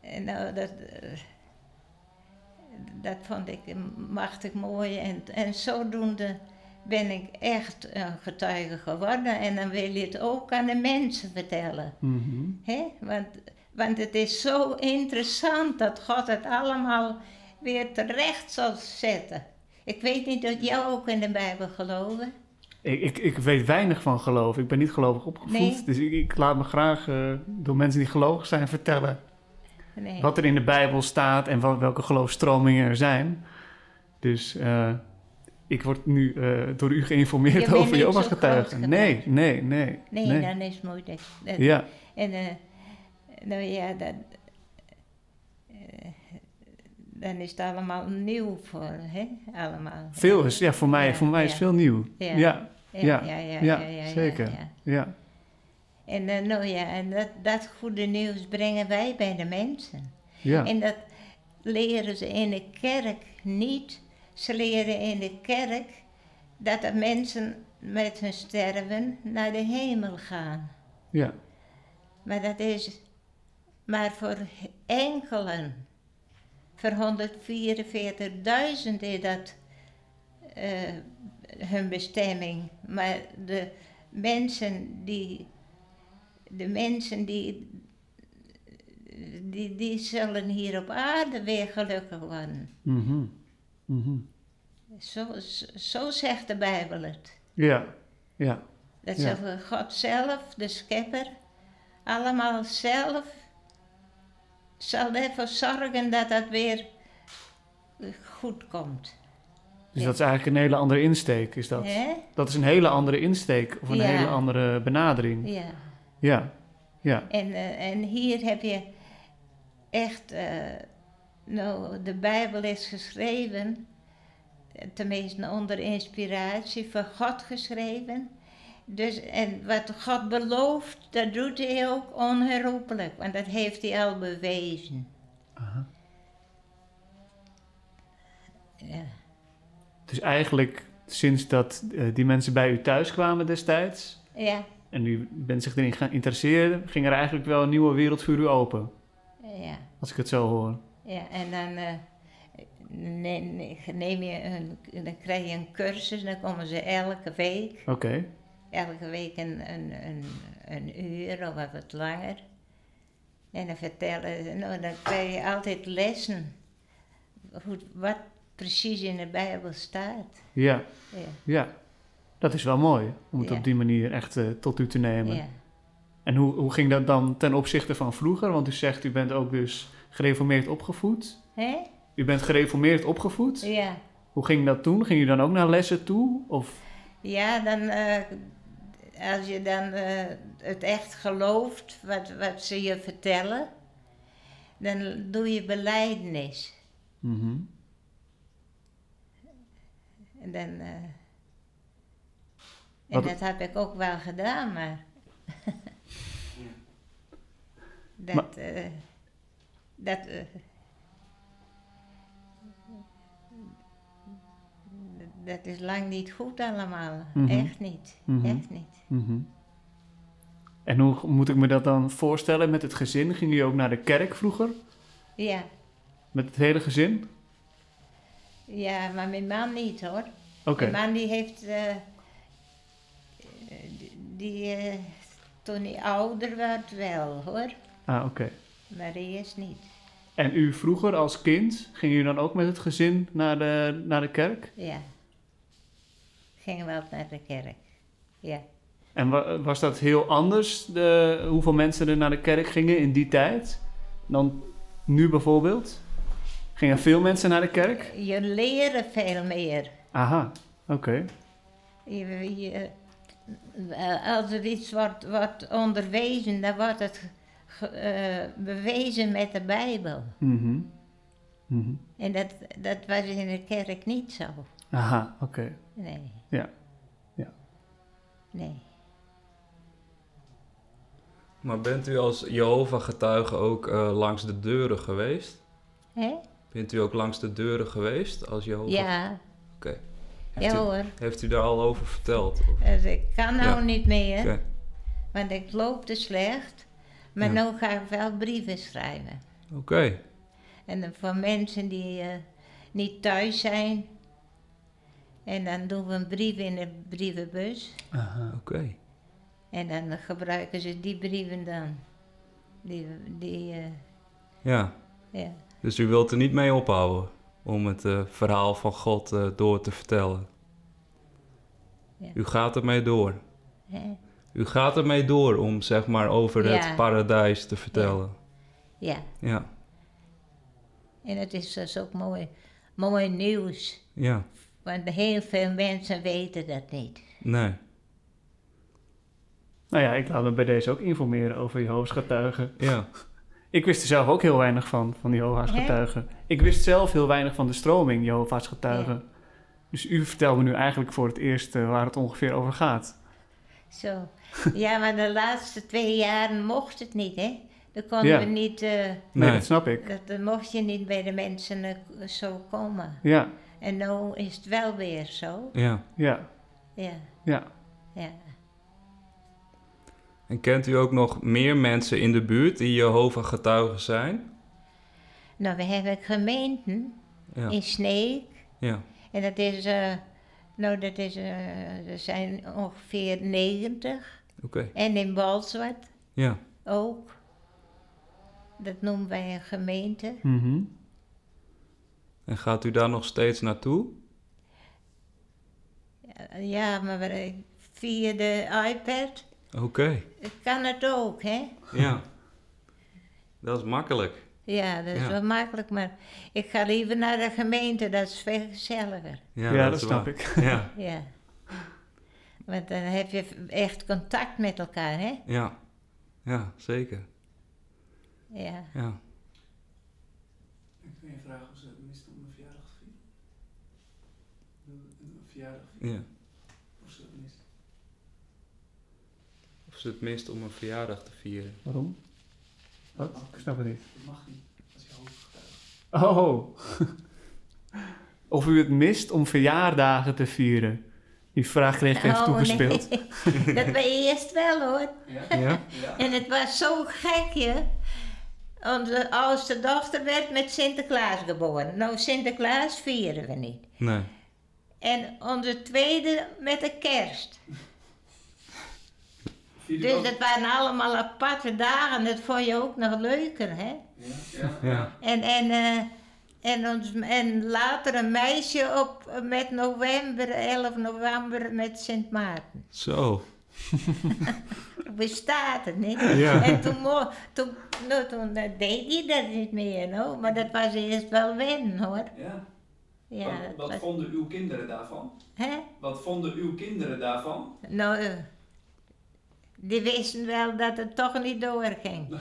D: en nou, dat. eh, dat vond ik machtig mooi. En, en zodoende ben ik echt een getuige geworden. En dan wil je het ook aan de mensen vertellen.
F: Mhm.
D: Hè? Want, want het is zo interessant dat God het allemaal weer terecht zal zetten. Ik weet niet dat jij ook in de Bijbel geloven.
F: Ik, ik, ik weet weinig van geloof. Ik ben niet gelovig opgevoed.
D: Nee.
F: Dus ik, ik laat me graag eh, door mensen die gelovig zijn vertellen
D: Nee.
F: wat er in de Bijbel staat en wel- welke geloofstromingen er zijn. Dus eh, ik word nu eh, door u
D: Je
F: geïnformeerd
D: bent
F: over
D: niet
F: Jehovah's
D: zo
F: getuigen. Nee,
D: grootgebracht.
F: nee, nee.
D: nee, dan is het moeilijk. Dat-
F: Ja,
D: En eh, nou ja, dat, eh, dan is het allemaal nieuw voor, hè? Allemaal.
F: veel is. Ja, voor mij,
D: Ja,
F: voor mij is
D: ja.
F: veel nieuw. Ja,
D: Ja.
F: ja, ja, ja, zeker. ja.
D: En eh, nou ja, en dat, dat goede nieuws brengen wij bij de mensen. En dat leren ze in de kerk niet. Ze leren in de kerk dat de mensen met hun sterven naar de hemel gaan.
F: ja.
D: Maar dat is maar voor enkelen. Voor 144.000 is dat eh, hun bestemming. Maar de, mensen die. De mensen die. Die, die zullen hier op aarde weer gelukkig worden.
B: Mhm. Mhm.
D: Zo, zo zegt de Bijbel het.
F: Ja, ja.
D: Dat
F: Ja.
D: zegt God zelf, de schepper, allemaal zelf zal ervoor zorgen dat dat weer goed komt.
F: Dus
D: Ja.
F: dat is eigenlijk een hele andere insteek, is dat?
D: Hè?
F: Dat is een hele andere insteek of een
D: Ja.
F: hele andere benadering.
D: Ja.
F: Ja, ja.
D: En, eh, en hier heb je echt, eh, nou, de Bijbel is geschreven, eh, tenminste onder inspiratie van God geschreven. Dus, en wat God belooft, dat doet hij ook onherroepelijk, want dat heeft hij al bewezen. Ja.
F: Dus eigenlijk sinds dat eh, die mensen bij u thuis kwamen destijds
D: Ja,
F: en u bent zich erin gaan interesseren, ging er eigenlijk wel een nieuwe wereld voor u open.
D: ja,
F: Als ik het zo hoor.
D: ja. En dan eh, ne- ne- neem je een, dan krijg je een cursus, dan komen ze elke week.
F: Oké.
D: elke week een, een, een, een uur of wat wat langer. En dan vertellen ze, nou, dan krijg je altijd lessen. Hoe, wat precies in de Bijbel staat.
F: Ja,
D: Ja,
F: ja. Dat is wel mooi om het
D: Ja.
F: op die manier echt eh, tot u te nemen.
D: ja.
F: En hoe, hoe ging dat dan ten opzichte van vroeger? Want u zegt u bent ook dus gereformeerd opgevoed.
D: Hè?
F: U bent gereformeerd opgevoed.
D: Ja.
F: Hoe ging dat toen? Ging u dan ook naar lessen toe? Of...
D: Ja, dan, eh, als je dan eh, het echt gelooft wat, wat ze je vertellen, dan doe je belijdenis.
F: Mhm.
D: En, dan, eh, en
F: Wat-
D: dat heb ik ook wel gedaan, maar. dat. eh, dat. eh, dat is lang niet goed allemaal.
F: Mhm.
D: Echt niet.
F: Mhm.
D: Echt niet.
F: Mhm. En hoe moet ik me dat dan voorstellen met het gezin? Ging u ook naar de kerk vroeger?
D: Ja.
F: Met het hele gezin?
D: ja, maar mijn man niet hoor.
F: Oké.
D: Mijn man die heeft. eh, eh, die- die, eh, toen hij ouder werd, wel hoor.
F: Ah, oké.
D: Maar eerst niet.
F: En u vroeger als kind, ging u dan ook met het gezin naar de, naar de kerk?
D: Ja. Gingen wel naar de kerk. Ja.
F: En wa- was dat heel anders, de, hoeveel mensen er naar de kerk gingen in die tijd? Dan nu bijvoorbeeld? Gingen veel mensen naar de kerk?
D: Je leren veel meer.
F: Aha, oké.
D: Je, je- eh, als er iets wordt, wordt onderwezen, dan wordt het ge- eh, bewezen met de Bijbel.
F: Mhm. Mhm.
D: En dat, dat was in de kerk niet zo.
F: Aha, oké.
D: Nee.
F: Ja. Ja.
D: Nee.
C: Maar bent u als Jehovah-getuige ook eh, langs de deuren geweest?
D: Hè?
C: Bent u ook langs de deuren geweest als Jehovah?
D: Ja.
C: Oké.
D: Ja
C: Heeft, u,
D: hoor.
C: heeft u daar al over verteld? Of-
D: Dus ik kan nou
C: Ja.
D: niet meer,
C: Oké.
D: want ik loop te slecht. Maar
C: Ja.
D: nu ga ik wel brieven schrijven.
C: Oké.
D: En dan voor mensen die eh, niet thuis zijn. En dan doen we een brief in de brievenbus.
F: Aha.
C: Oké.
D: En dan gebruiken ze die brieven dan. Die, die eh,
C: Ja.
D: ja.
C: Dus u wilt er niet mee ophouden om het eh, verhaal van God eh, door te vertellen.
D: Ja.
C: U gaat ermee door.
D: Hè?
C: U gaat ermee door om zeg maar over
D: Ja.
C: het paradijs te vertellen.
D: ja.
C: Ja,
D: En het is dus ook mooi, mooi nieuws.
C: ja,
D: Want heel veel mensen weten dat niet.
C: nee.
F: Nou ja, ik laat me bij deze ook informeren over Jehovah's getuigen.
C: Ja,
F: Ik wist er zelf ook heel weinig van, van die Jehovah's
D: Hè?
F: getuigen. Ik wist zelf heel weinig van de stroming Jehovah's getuigen. Dus u vertelt me nu eigenlijk voor het eerst eh, waar het ongeveer over gaat.
D: Zo. ja, maar de laatste twee jaren mocht het niet, hè? Dan konden
F: Ja.
D: we niet, eh,
F: Nee,
C: Nee.
F: dat snap ik.
D: dat, dan mocht je niet bij de mensen eh, zo komen.
F: Ja,
D: En nu is het wel weer zo.
C: ja.
F: ja,
D: Ja,
F: ja.
D: ja.
C: En kent u ook nog meer mensen in de buurt die Jehovah getuigen zijn?
D: Nou, we hebben gemeenten
C: Ja,
D: in Sneek.
C: ja,
D: En dat is eh, Nou, dat is, eh, er zijn ongeveer 90.
C: Oké.
D: En in Balzwart
C: Ja.
D: ook. Dat noemen wij een gemeente.
F: Mhm.
C: En gaat u daar nog steeds naartoe?
D: Ja, maar we- via de iPad
C: Oké.
D: kan het ook, hè?
C: Ja. Dat is makkelijk.
D: Ja, dat is
C: Ja.
D: wel makkelijk, maar ik ga liever naar de gemeente, dat is veel gezelliger.
C: Ja,
F: Ja, dat, snap ik.
C: ik. Ja.
D: Ja. Want dan heb je echt contact met elkaar, hè?
C: Ja. Ja, zeker.
D: Ja.
C: Ja.
E: Ik wil je vragen of ze tenminste mijn verjaardag vieren. Een verjaardag
C: ja.
E: of ze dat mist.
C: Of ze het mist om een verjaardag te vieren.
F: Waarom? Wat? Ik snap het niet.
E: Dat mag niet. Als je hoofdgetuige.
F: Oh. of u het mist om verjaardagen te vieren. Die vraag kreeg ik even
D: Oh,
F: toegespeeld.
D: nee. dat was eerst wel hoor.
C: Ja?
D: En het was zo gekje. Onze oudste dochter werd met Sinterklaas geboren. Nou, Sinterklaas vieren we niet.
C: Nee.
D: En onze tweede met de kerst.
E: Vier
D: Dus dat waren allemaal aparte dagen. Dat vond je ook nog leuker, hè?
E: Ja.
C: Ja.
D: En, en, eh, en, ons, en later een meisje op met november, 11 november met Sint Maarten.
C: Zo.
D: Bestaat het niet?
C: Ja.
D: En toen, mo- toen, nou, toen eh, deed hij dat niet meer, no? maar dat was eerst wel wennen hoor.
E: ja.
D: Ja,
E: wat,
D: dat
E: wat
D: was,
E: vonden uw kinderen daarvan?
D: hè?
E: Wat vonden uw kinderen daarvan?
D: Nou, eh, die wisten wel dat het toch niet doorging.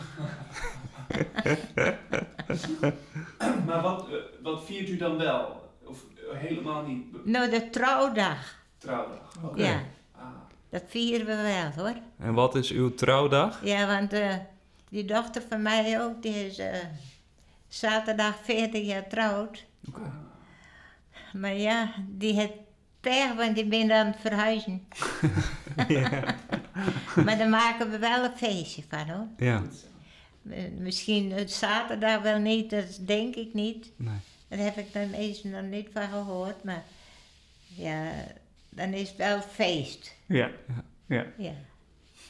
E: Maar wat, eh, wat viert u dan wel? Of eh, helemaal niet be-
D: Nou, de trouwdag,
E: trouwdag?
D: ja,
E: Ah.
D: dat vieren we wel hoor.
C: En wat is uw trouwdag?
D: Ja, want eh, die dochter van mij ook, die is eh, zaterdag 40 jaar trouwd. Maar ja, die heeft pech, want die ben aan het verhuizen. maar daar maken we wel een feestje van hoor.
C: Ja.
D: Eh, Misschien het zaterdag wel niet, dat denk ik niet.
C: Nee.
D: Daar heb ik dan eens nog niet van gehoord, maar ja, dan is het wel feest.
F: Ja.
D: Ja.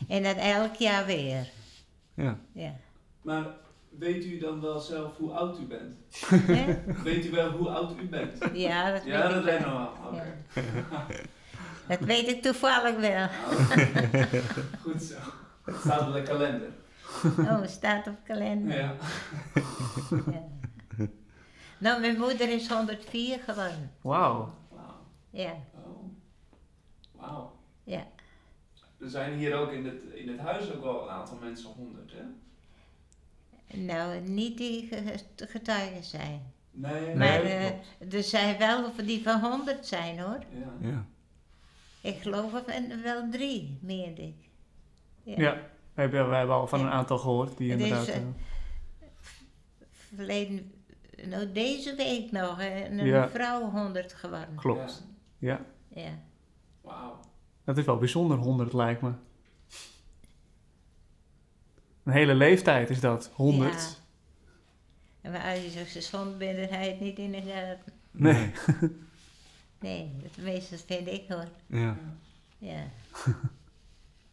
D: En dat elk jaar weer.
C: Ja.
D: Ja.
E: Maar weet u dan wel zelf hoe oud u bent?
D: Hè?
E: Weet u wel hoe oud u bent?
D: Ja, dat
E: Ja,
D: weet
E: dat
D: ik
E: weet ik
D: wel.
E: nog wel. Oké.
D: Dat weet ik toevallig wel.
E: Goed zo. Het staat op de kalender.
D: Oh, het staat op kalender.
E: Ja.
D: Ja. Nou, mijn moeder is 104 geworden.
F: Wauw.
E: Wauw.
D: Ja,
E: Oh. Wauw.
D: ja.
E: Er zijn hier ook in het, in het huis ook wel een aantal mensen honderd, hè?
D: Nou, niet die ge- getuigen zijn.
E: Nee.
D: Maar
E: nee,
D: eh,
E: klopt.
D: er zijn wel of die van 100 zijn hoor.
E: Ja.
C: Ja.
D: Ik geloof er wel- wel drie, meende ik.
F: Ja. We hebben, we hebben al van
D: Ja.
F: een aantal gehoord die
D: Het is,
F: inderdaad...
D: eh,
F: eh,
D: Verleden, nou deze week nog, eh, een
F: Ja.
D: vrouw 100 geworden.
F: klopt.
E: Ja.
F: Ja.
D: Ja.
E: Wauw.
F: Dat is wel bijzonder, 100 lijkt me. Een hele leeftijd is dat, 100.
D: En maar als je zo gezond bent, dan hij het niet in de gaten.
F: Nee.
D: Nee, dat meestal vind ik hoor.
C: Ja.
D: Ja.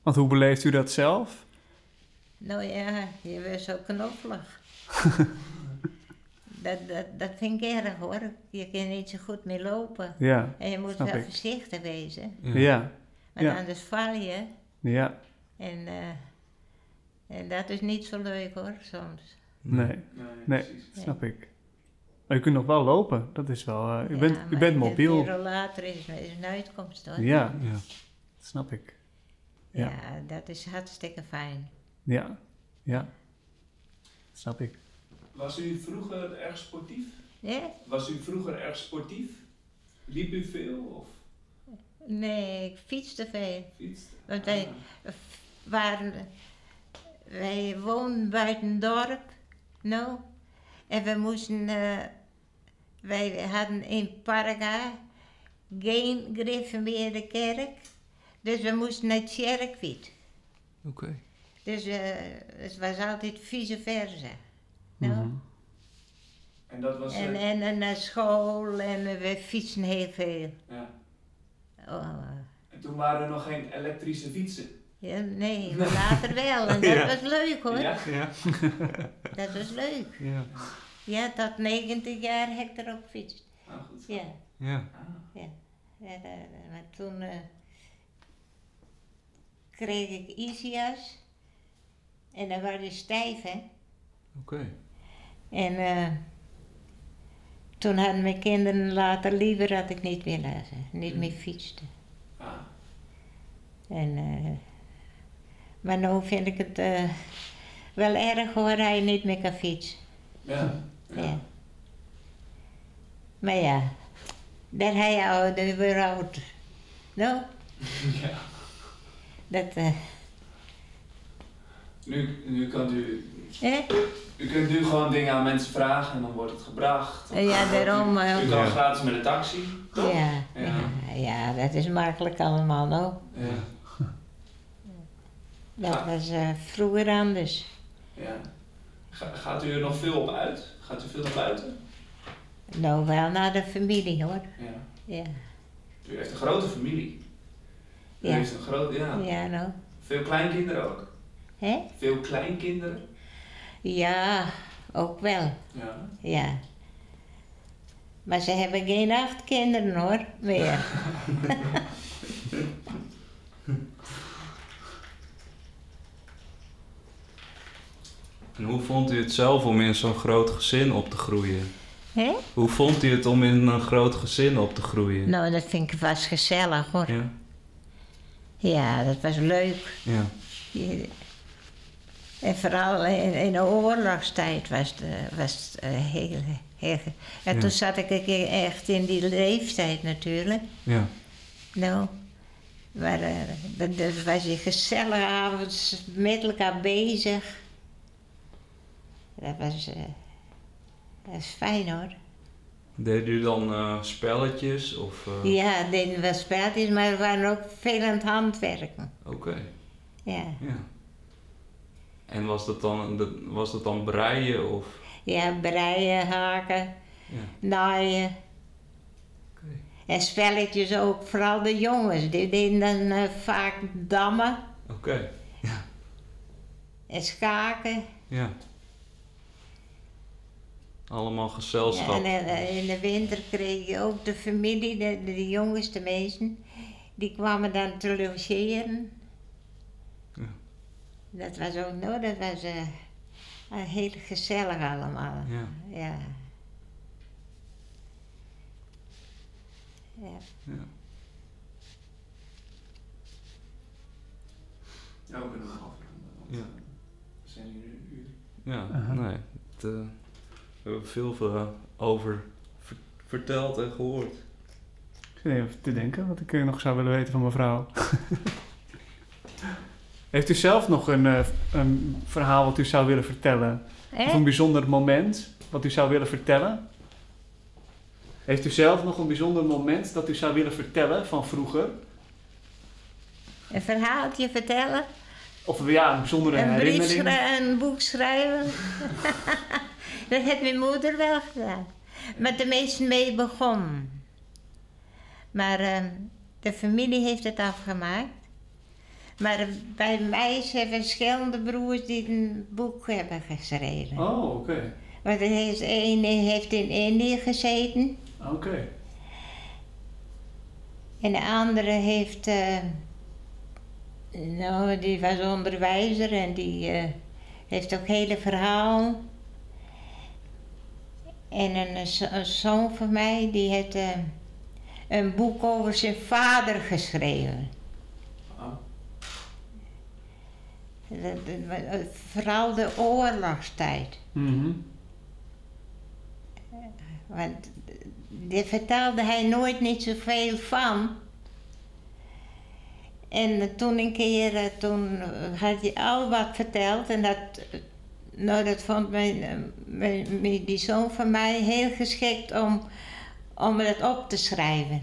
F: Want hoe beleeft u dat zelf?
D: Nou ja, je bent zo knoffelig. dat, dat, dat vind ik erg hoor. Je kan niet zo goed meer lopen.
F: Ja.
D: En je moet
F: Snap
D: wel
F: ik.
D: voorzichtig wezen.
C: Ja.
F: Ja.
D: Want
F: Ja.
D: anders val je.
F: Ja.
D: En, eh, en dat is niet zo leuk hoor, soms.
F: Nee.
E: Nee,
F: Nee.
E: precies.
F: Snap ik. Maar je kunt nog wel lopen. Dat is wel... eh, u,
D: Ja,
F: bent, u
D: maar
F: bent
D: de-
F: mobiel.
D: De rollator is, is een uitkomst hoor.
F: Ja.
C: Ja.
F: Dat snap ik.
D: Ja,
F: Ja.
D: dat is hartstikke fijn.
F: Ja. Ja. Dat snap ik.
E: Was u vroeger erg sportief?
D: Ja?
E: Was u vroeger erg sportief? Liep u veel of
D: Nee, ik fiets te veel.
E: fietste?
D: Want wij, waren, wij woonden buiten een dorp, nou, en we moesten, eh, wij hadden in Parga geen gereformeerde kerk, dus we moesten naar Tjerkwit.
C: Oké.
D: Dus eh, het was altijd vice versa. Nou,
F: Mhm.
E: En dat was...
D: en,
E: eh,
D: en, en naar school en eh, we fietsen heel veel.
E: ja.
D: Oh,
E: En toen waren er nog geen elektrische fietsen.
D: ja, nee, maar later wel. En dat
C: Ja.
D: was leuk hoor.
E: Ja?
C: Ja.
D: Dat was leuk.
F: Ja.
D: Ja, tot 90 jaar heb ik erop gefietst.
E: Nou goed.
D: Ja.
C: Ja.
E: Ah.
D: En, eh, maar toen eh, kreeg ik Isias. En dan was je stijf, hè.
C: Oké.
D: En eh, toen hadden mijn kinderen later liever dat ik niet meer lezen, niet meer fietste.
E: Hmm. Ah.
D: En, eh, maar nu vind ik het eh, wel erg hoor, hij niet meer kan fietsen.
E: Ja.
D: Ja. Maar ja, dat hij ouder weer oud. Nou,
E: Ja.
D: dat. eh,
E: Nu, nu kunt u,
D: hè?
E: u kunt nu gewoon dingen aan mensen vragen en dan wordt het gebracht.
D: Eh, ja, daarom. eh,
E: U kan
C: Ja.
E: gratis met de taxi.
D: ja, ja.
E: Ja.
D: ja, dat is makkelijk allemaal nou.
E: Ja.
D: Dat
E: Ah.
D: was eh, vroeger anders.
E: ja. Ga- gaat u er nog veel op uit? Gaat u veel naar buiten?
D: Nou, wel naar de familie hoor.
E: Ja.
D: Ja,
E: U heeft een grote familie. U
D: Ja.
E: heeft een grote, ja.
D: ja nou.
E: Veel kleinkinderen ook.
D: Hè?
E: Veel kleinkinderen.
D: Ja, ook wel.
E: Ja.
D: Ja. Maar ze hebben geen acht kinderen hoor, meer.
C: En hoe vond u het zelf om in zo'n groot gezin op te groeien?
D: Hè?
C: Hoe vond u het om in een groot gezin op te groeien?
D: Nou, dat vind ik vast gezellig hoor.
C: Ja.
D: Ja, dat was leuk.
C: Ja.
D: Je- En vooral in, in de oorlogstijd was het, eh, was het eh, heel, heel... En
C: Ja.
D: toen zat ik een keer echt in die leeftijd natuurlijk.
C: Ja.
D: Nou, maar eh, dat, dat was je gezellige avond met elkaar bezig. Dat was, eh, dat is fijn hoor.
C: Deed u dan eh, spelletjes of... eh,
D: Ja, het deden wel spelletjes, maar we waren ook veel aan het handwerken.
C: Oké.
D: Ja,
C: Ja. En was dat dan, dat- was dat dan breien of...
D: ja breien, haken,
C: Ja.
D: naaien.
C: Oké.
D: En spelletjes ook, vooral de jongens. Die deden dan eh, vaak dammen
C: Oké.
D: en schaken.
C: Ja. Allemaal
D: Ja,
C: gezelschap.
D: en eh, in de winter kreeg je ook de familie, de, de, de jongste mensen, die kwamen dan te logeren.
C: Ja.
D: Dat was ook nou, dat was eh, eh, heel gezellig allemaal.
C: Ja.
D: Ja.
E: Ja, we kunnen nog afronden. want,
C: Ja.
E: eh, We zijn hier een uur.
C: Ja,
F: Aha.
C: nee. het, eh, we hebben veel eh, over ver- verteld en gehoord.
F: Ik zit even te denken wat ik eh, nog zou willen weten van mevrouw. Heeft u zelf nog een, eh, een verhaal wat u zou willen vertellen? Of
D: Hè?
F: een bijzonder moment wat u zou willen vertellen? Heeft u zelf nog een bijzonder moment dat u zou willen vertellen van vroeger?
D: Een verhaaltje vertellen,
F: Of ja, een bijzondere
D: een brief
F: herinnering?
D: schrijven, een boek schrijven. dat heeft mijn moeder wel gedaan. Met de meesten mee begon. Maar eh, de familie heeft het afgemaakt. Maar bij mij zijn verschillende broers die een boek hebben geschreven.
F: Oh, oké.
D: Want er is één die heeft in Indië gezeten.
F: Oké.
D: En de andere heeft. eh, nou, die was onderwijzer en die eh, heeft ook hele verhaal. En een, zo- een zoon van mij, die heeft eh, een boek over zijn vader geschreven.
E: Ah.
D: Dat- dat wa- eh, Vooral de oorlogstijd.
F: Mhm.
D: Want daar vertelde hij nooit niet zoveel van. En toen een keer, eh, toen had hij al wat verteld en dat, eh, nou dat vond mijn, eh, mijn, mijn- die zoon van mij heel geschikt om, om dat op te schrijven.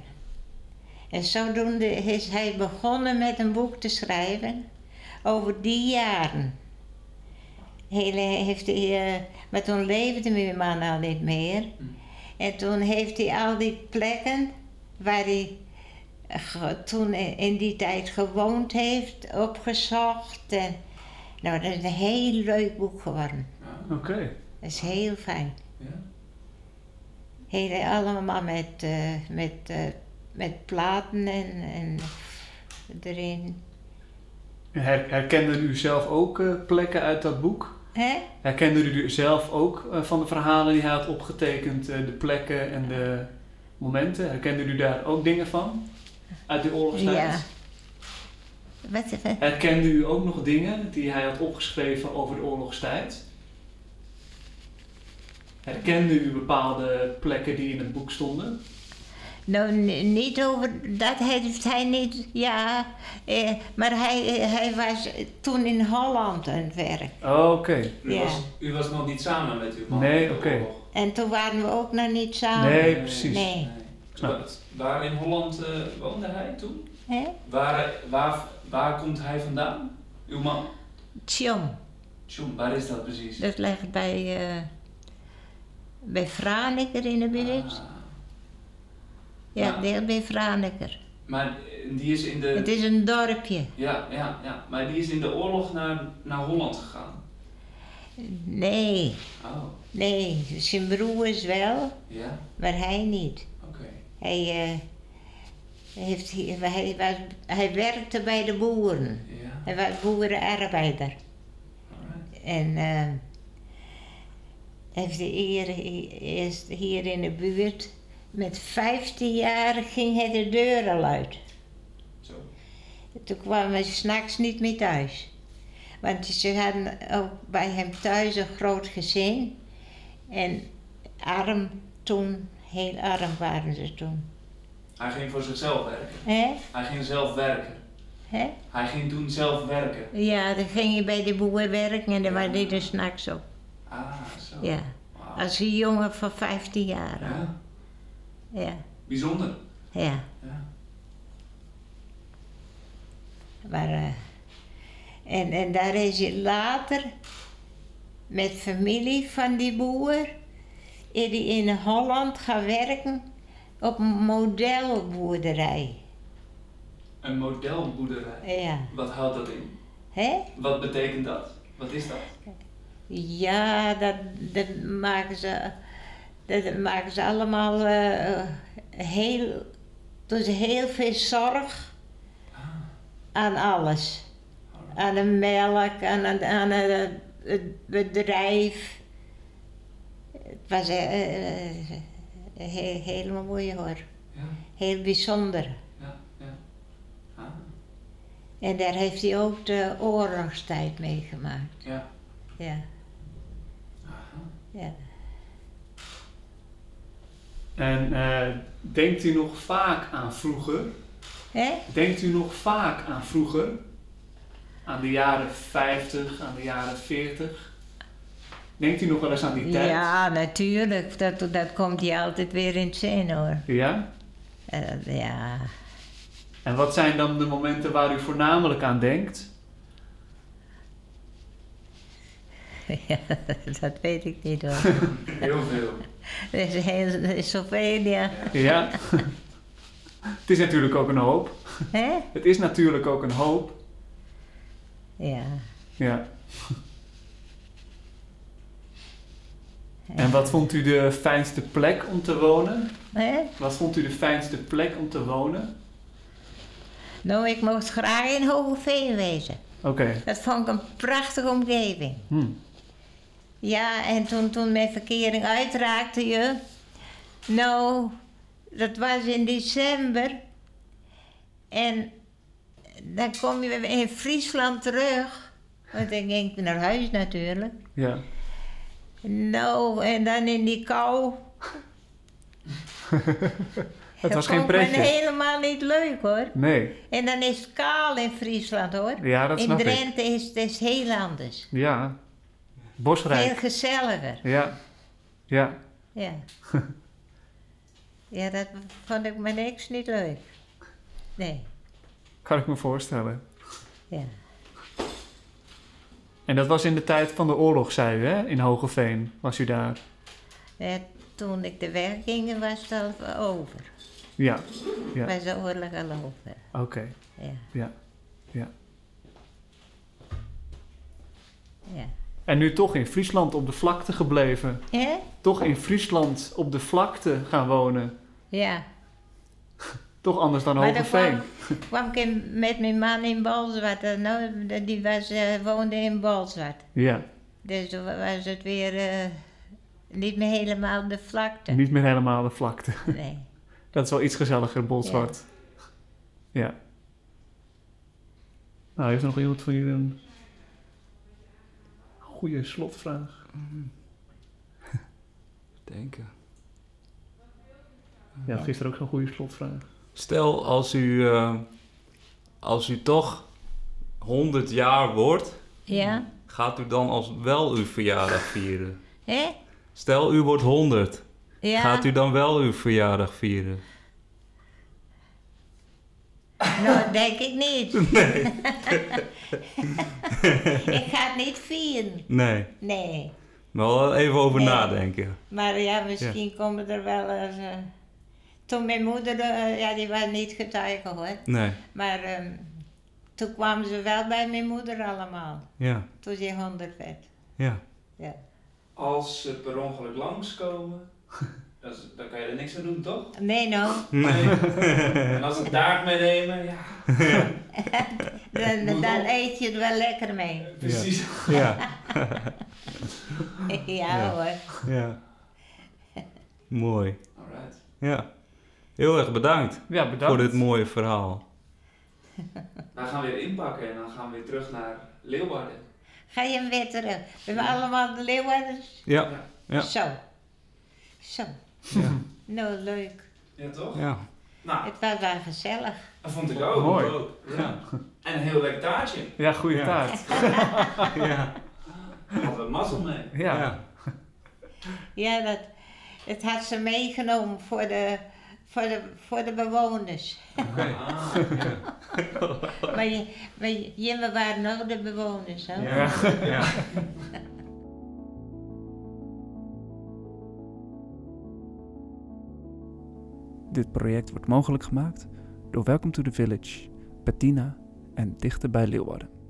D: En zodoende is hij begonnen met een boek te schrijven over die jaren. Hele, heeft hij, eh, maar toen leefde mijn man al niet meer. En toen heeft hij al die plekken waar hij ge- toen i- in die tijd gewoond heeft, opgezocht. En, nou, dat is een heel leuk boek geworden.
F: Oké.
D: Dat is heel fijn.
E: Ja.
D: Hele, allemaal met, eh, met, eh, met platen en, en erin.
F: Her- herkende u zelf ook eh, plekken uit dat boek?
D: Hè?
F: Herkende u zelf ook eh, van de verhalen die hij had opgetekend, eh, de plekken en de momenten? Herkende u daar ook dingen van? Uit die oorlogstijd?
D: Ja. Wat, wat?
F: Herkende u ook nog dingen die hij had opgeschreven over de oorlogstijd? Herkende u bepaalde plekken die in het boek stonden?
D: Nou, n- niet over dat heeft hij niet, ja. Eh, maar hij, eh, hij was toen in Holland aan het werk.
F: Oké.
E: U,
D: Ja.
E: was, u was nog niet samen met uw man?
F: Nee,
E: in de
F: oké.
E: oorlog?
D: En toen waren we ook nog niet samen.
F: Nee, precies. Nou.
D: Nee.
F: Snap
E: Wa- Waar in Holland eh, woonde hij toen?
D: Hè?
E: Waar, waar, waar komt hij vandaan? Uw man?
D: Tjong,
E: Tjoem, waar is dat precies?
D: dat ligt bij, eh bij Franeker in de buurt.
E: Ah.
D: ja,
E: Ah.
D: deel bij Franeker.
E: Maar eh, die is in de...
D: Het is een dorpje.
E: Ja, ja, ja. Maar die is in de oorlog naar, naar Holland gegaan.
D: Nee,
E: Oh,
D: nee, zijn broers wel,
E: ja,
D: maar hij niet.
E: oké.
D: Hij, eh, heeft, hier- hij, was, hij werkte bij de boeren.
E: Ja,
D: Hij was boerenarbeider.
E: alright.
D: En eh heeft hier, eerst hier in de buurt. Met 15 jaar ging hij de deur al uit.
E: Zo.
D: Toen kwamen we s'nachts niet meer thuis. Want ze hadden ook bij hem thuis een groot gezin. En arm toen, heel arm waren ze toen.
E: Hij ging voor zichzelf werken.
D: Hè?
E: Hij ging zelf werken.
D: Hè?
E: Hij ging toen zelf werken.
D: Ja, dan ging je bij de boer werken en dan was hij er s'nachts op.
E: Ah, zo.
D: Ja.
E: Wauw.
D: Als een jongen van 15 jaar. al.
E: Ja,
D: Ja.
E: bijzonder.
D: Ja.
E: Ja.
D: Maar, eh, en, en daar is hij later met familie van die boer is hij in Holland gaan werken op een modelboerderij.
E: Een modelboerderij.
D: Ja,
E: Wat houdt dat in?
D: hè?
E: Wat betekent dat? Wat is dat?
D: Ja, dat, dat maken ze. Dat maken ze allemaal eh, heel. Dus heel veel zorg
E: Ah.
D: aan alles. Aan de melk, aan, het- aan het- het bedrijf. Het was eh, eh, he- helemaal mooi hoor.
E: Ja,
D: Heel bijzonder.
E: ja, ja. Ah,
D: En daar heeft hij ook de oorlogstijd meegemaakt.
E: ja.
D: Ja.
E: Aha.
D: ja.
F: En eh, denkt u nog vaak aan vroeger?
D: Hè?
F: Denkt u nog vaak aan vroeger? Aan de jaren 50, aan de jaren 40? Denkt u nog wel eens aan die tijd?
D: Ja, natuurlijk. Dat, dat komt hij altijd weer in het zin hoor.
F: Ja?
D: Eh, ja.
F: En wat zijn dan de momenten waar u voornamelijk aan denkt?
D: ja, dat weet ik niet hoor.
E: Heel veel.
D: er is, heel, er is zoveel, ja.
F: Ja? Het is natuurlijk ook een hoop.
D: Hè?
F: Het is natuurlijk ook een hoop.
D: Ja.
F: Ja. En wat vond u de fijnste plek om te wonen?
D: Hè?
F: Wat vond u de fijnste plek om te wonen?
D: Nou, ik mocht graag in Hogeveen wezen.
F: Oké.
D: Dat vond ik een prachtige omgeving.
F: Hm.
D: Ja, en toen, toen mijn verkering uitraakte, je. Nou, dat was in december. En dan kom je weer in Friesland terug. Want ik ging naar huis natuurlijk.
F: Ja.
D: Nou, en dan in die kou.
F: Het was
D: Dat
F: geen
D: vond ik me
F: pretje.
D: helemaal niet leuk hoor.
F: Nee.
D: En dan is het kaal in Friesland hoor.
F: Ja, dat
D: in
F: snap ik.
D: Drenthe is het is heel anders.
F: Ja.
D: Veel
F: Bosrijk.
D: gezelliger.
F: Ja. Ja.
D: Ja. ja, dat vond ik me niks niet leuk. Nee,
F: Kan ik me voorstellen.
D: ja.
F: En dat was in de tijd van de oorlog, zei u, hè? In Hogeveen was u daar.
D: Ja, toen ik de weg ging, was het al over.
F: Ja, Ja.
D: Bij zo'n oorlog al over.
F: oké.
D: Ja.
F: Ja. Ja.
D: Ja.
F: En nu toch in Friesland op de vlakte gebleven.
D: Hè?
F: Toch in Friesland op de vlakte gaan wonen.
D: Ja.
F: Toch anders dan
D: Maar dan
F: Hogeveen.
D: kwam, kwam ik in- met mijn man in Balzwart. En nou, de- die was, eh, woonde in Balzwart.
F: Ja,
D: Dus toen was het weer eh, niet meer helemaal de vlakte.
F: niet meer helemaal de vlakte.
D: Nee.
F: Dat is wel iets gezelliger, Bolzwart. Ja. Nou, heeft er nog iemand van jullie een goede slotvraag?
C: Denken.
F: Ja, gisteren ook zo'n goede slotvraag.
C: Stel als u, eh, als u toch 100 jaar wordt,
D: Ja?
C: gaat u dan als wel uw verjaardag vieren?
D: Hè?
C: Stel u wordt 100,
D: Ja.
C: gaat u dan wel uw verjaardag vieren?
D: Nou, denk ik niet. ik ga het niet vieren.
C: Nee,
D: Nee.
C: maar wel even over
D: Nee.
C: nadenken.
D: Maar ja, misschien komen er wel eens. eh, Toen mijn moeder, eh, ja, die was niet getuige hoor.
C: Nee,
D: Maar ehm, toen kwamen ze wel bij mijn moeder allemaal.
C: ja,
D: Toen ze honderd werd.
C: ja.
E: Als ze per ongeluk langskomen, dan, is- dan kan je er niks aan doen, toch?
D: Nee, nou,
E: Nee. en als ze het taart meenemen, ja,
D: dan, dan eet je het wel lekker mee.
E: precies.
C: Ja,
D: ja,
C: Ja.
D: hoor.
C: ja. Mooi.
E: Alright.
C: Ja. Heel erg bedankt
F: Ja, bedankt.
C: voor dit mooie verhaal.
E: Dan gaan we weer inpakken en dan gaan we weer terug naar Leeuwarden.
D: Ga je hem weer terug. We hebben allemaal de leeuwarden.
C: Ja, Ja.
D: Zo. Zo. Nou, leuk.
E: Ja, toch?
C: ja.
E: Nou,
D: Het was wel gezellig.
E: dat vond ik ook.
F: Mooi.
E: Ook. Ja. En een heel lekker taartje.
F: Ja, goede
C: Ja.
F: taart.
C: Ja,
E: Hadden we mazzel mee.
F: Ja.
D: Ja, dat, het had ze meegenomen voor de, voor de, voor de bewoners.
E: Ah,
D: maar je- maar je- Jimmer waren ook de bewoners. Hè?
C: ja. ja.
A: Dit project wordt mogelijk gemaakt door Welcome to the Village, Bettina en Dichter bij Leeuwarden.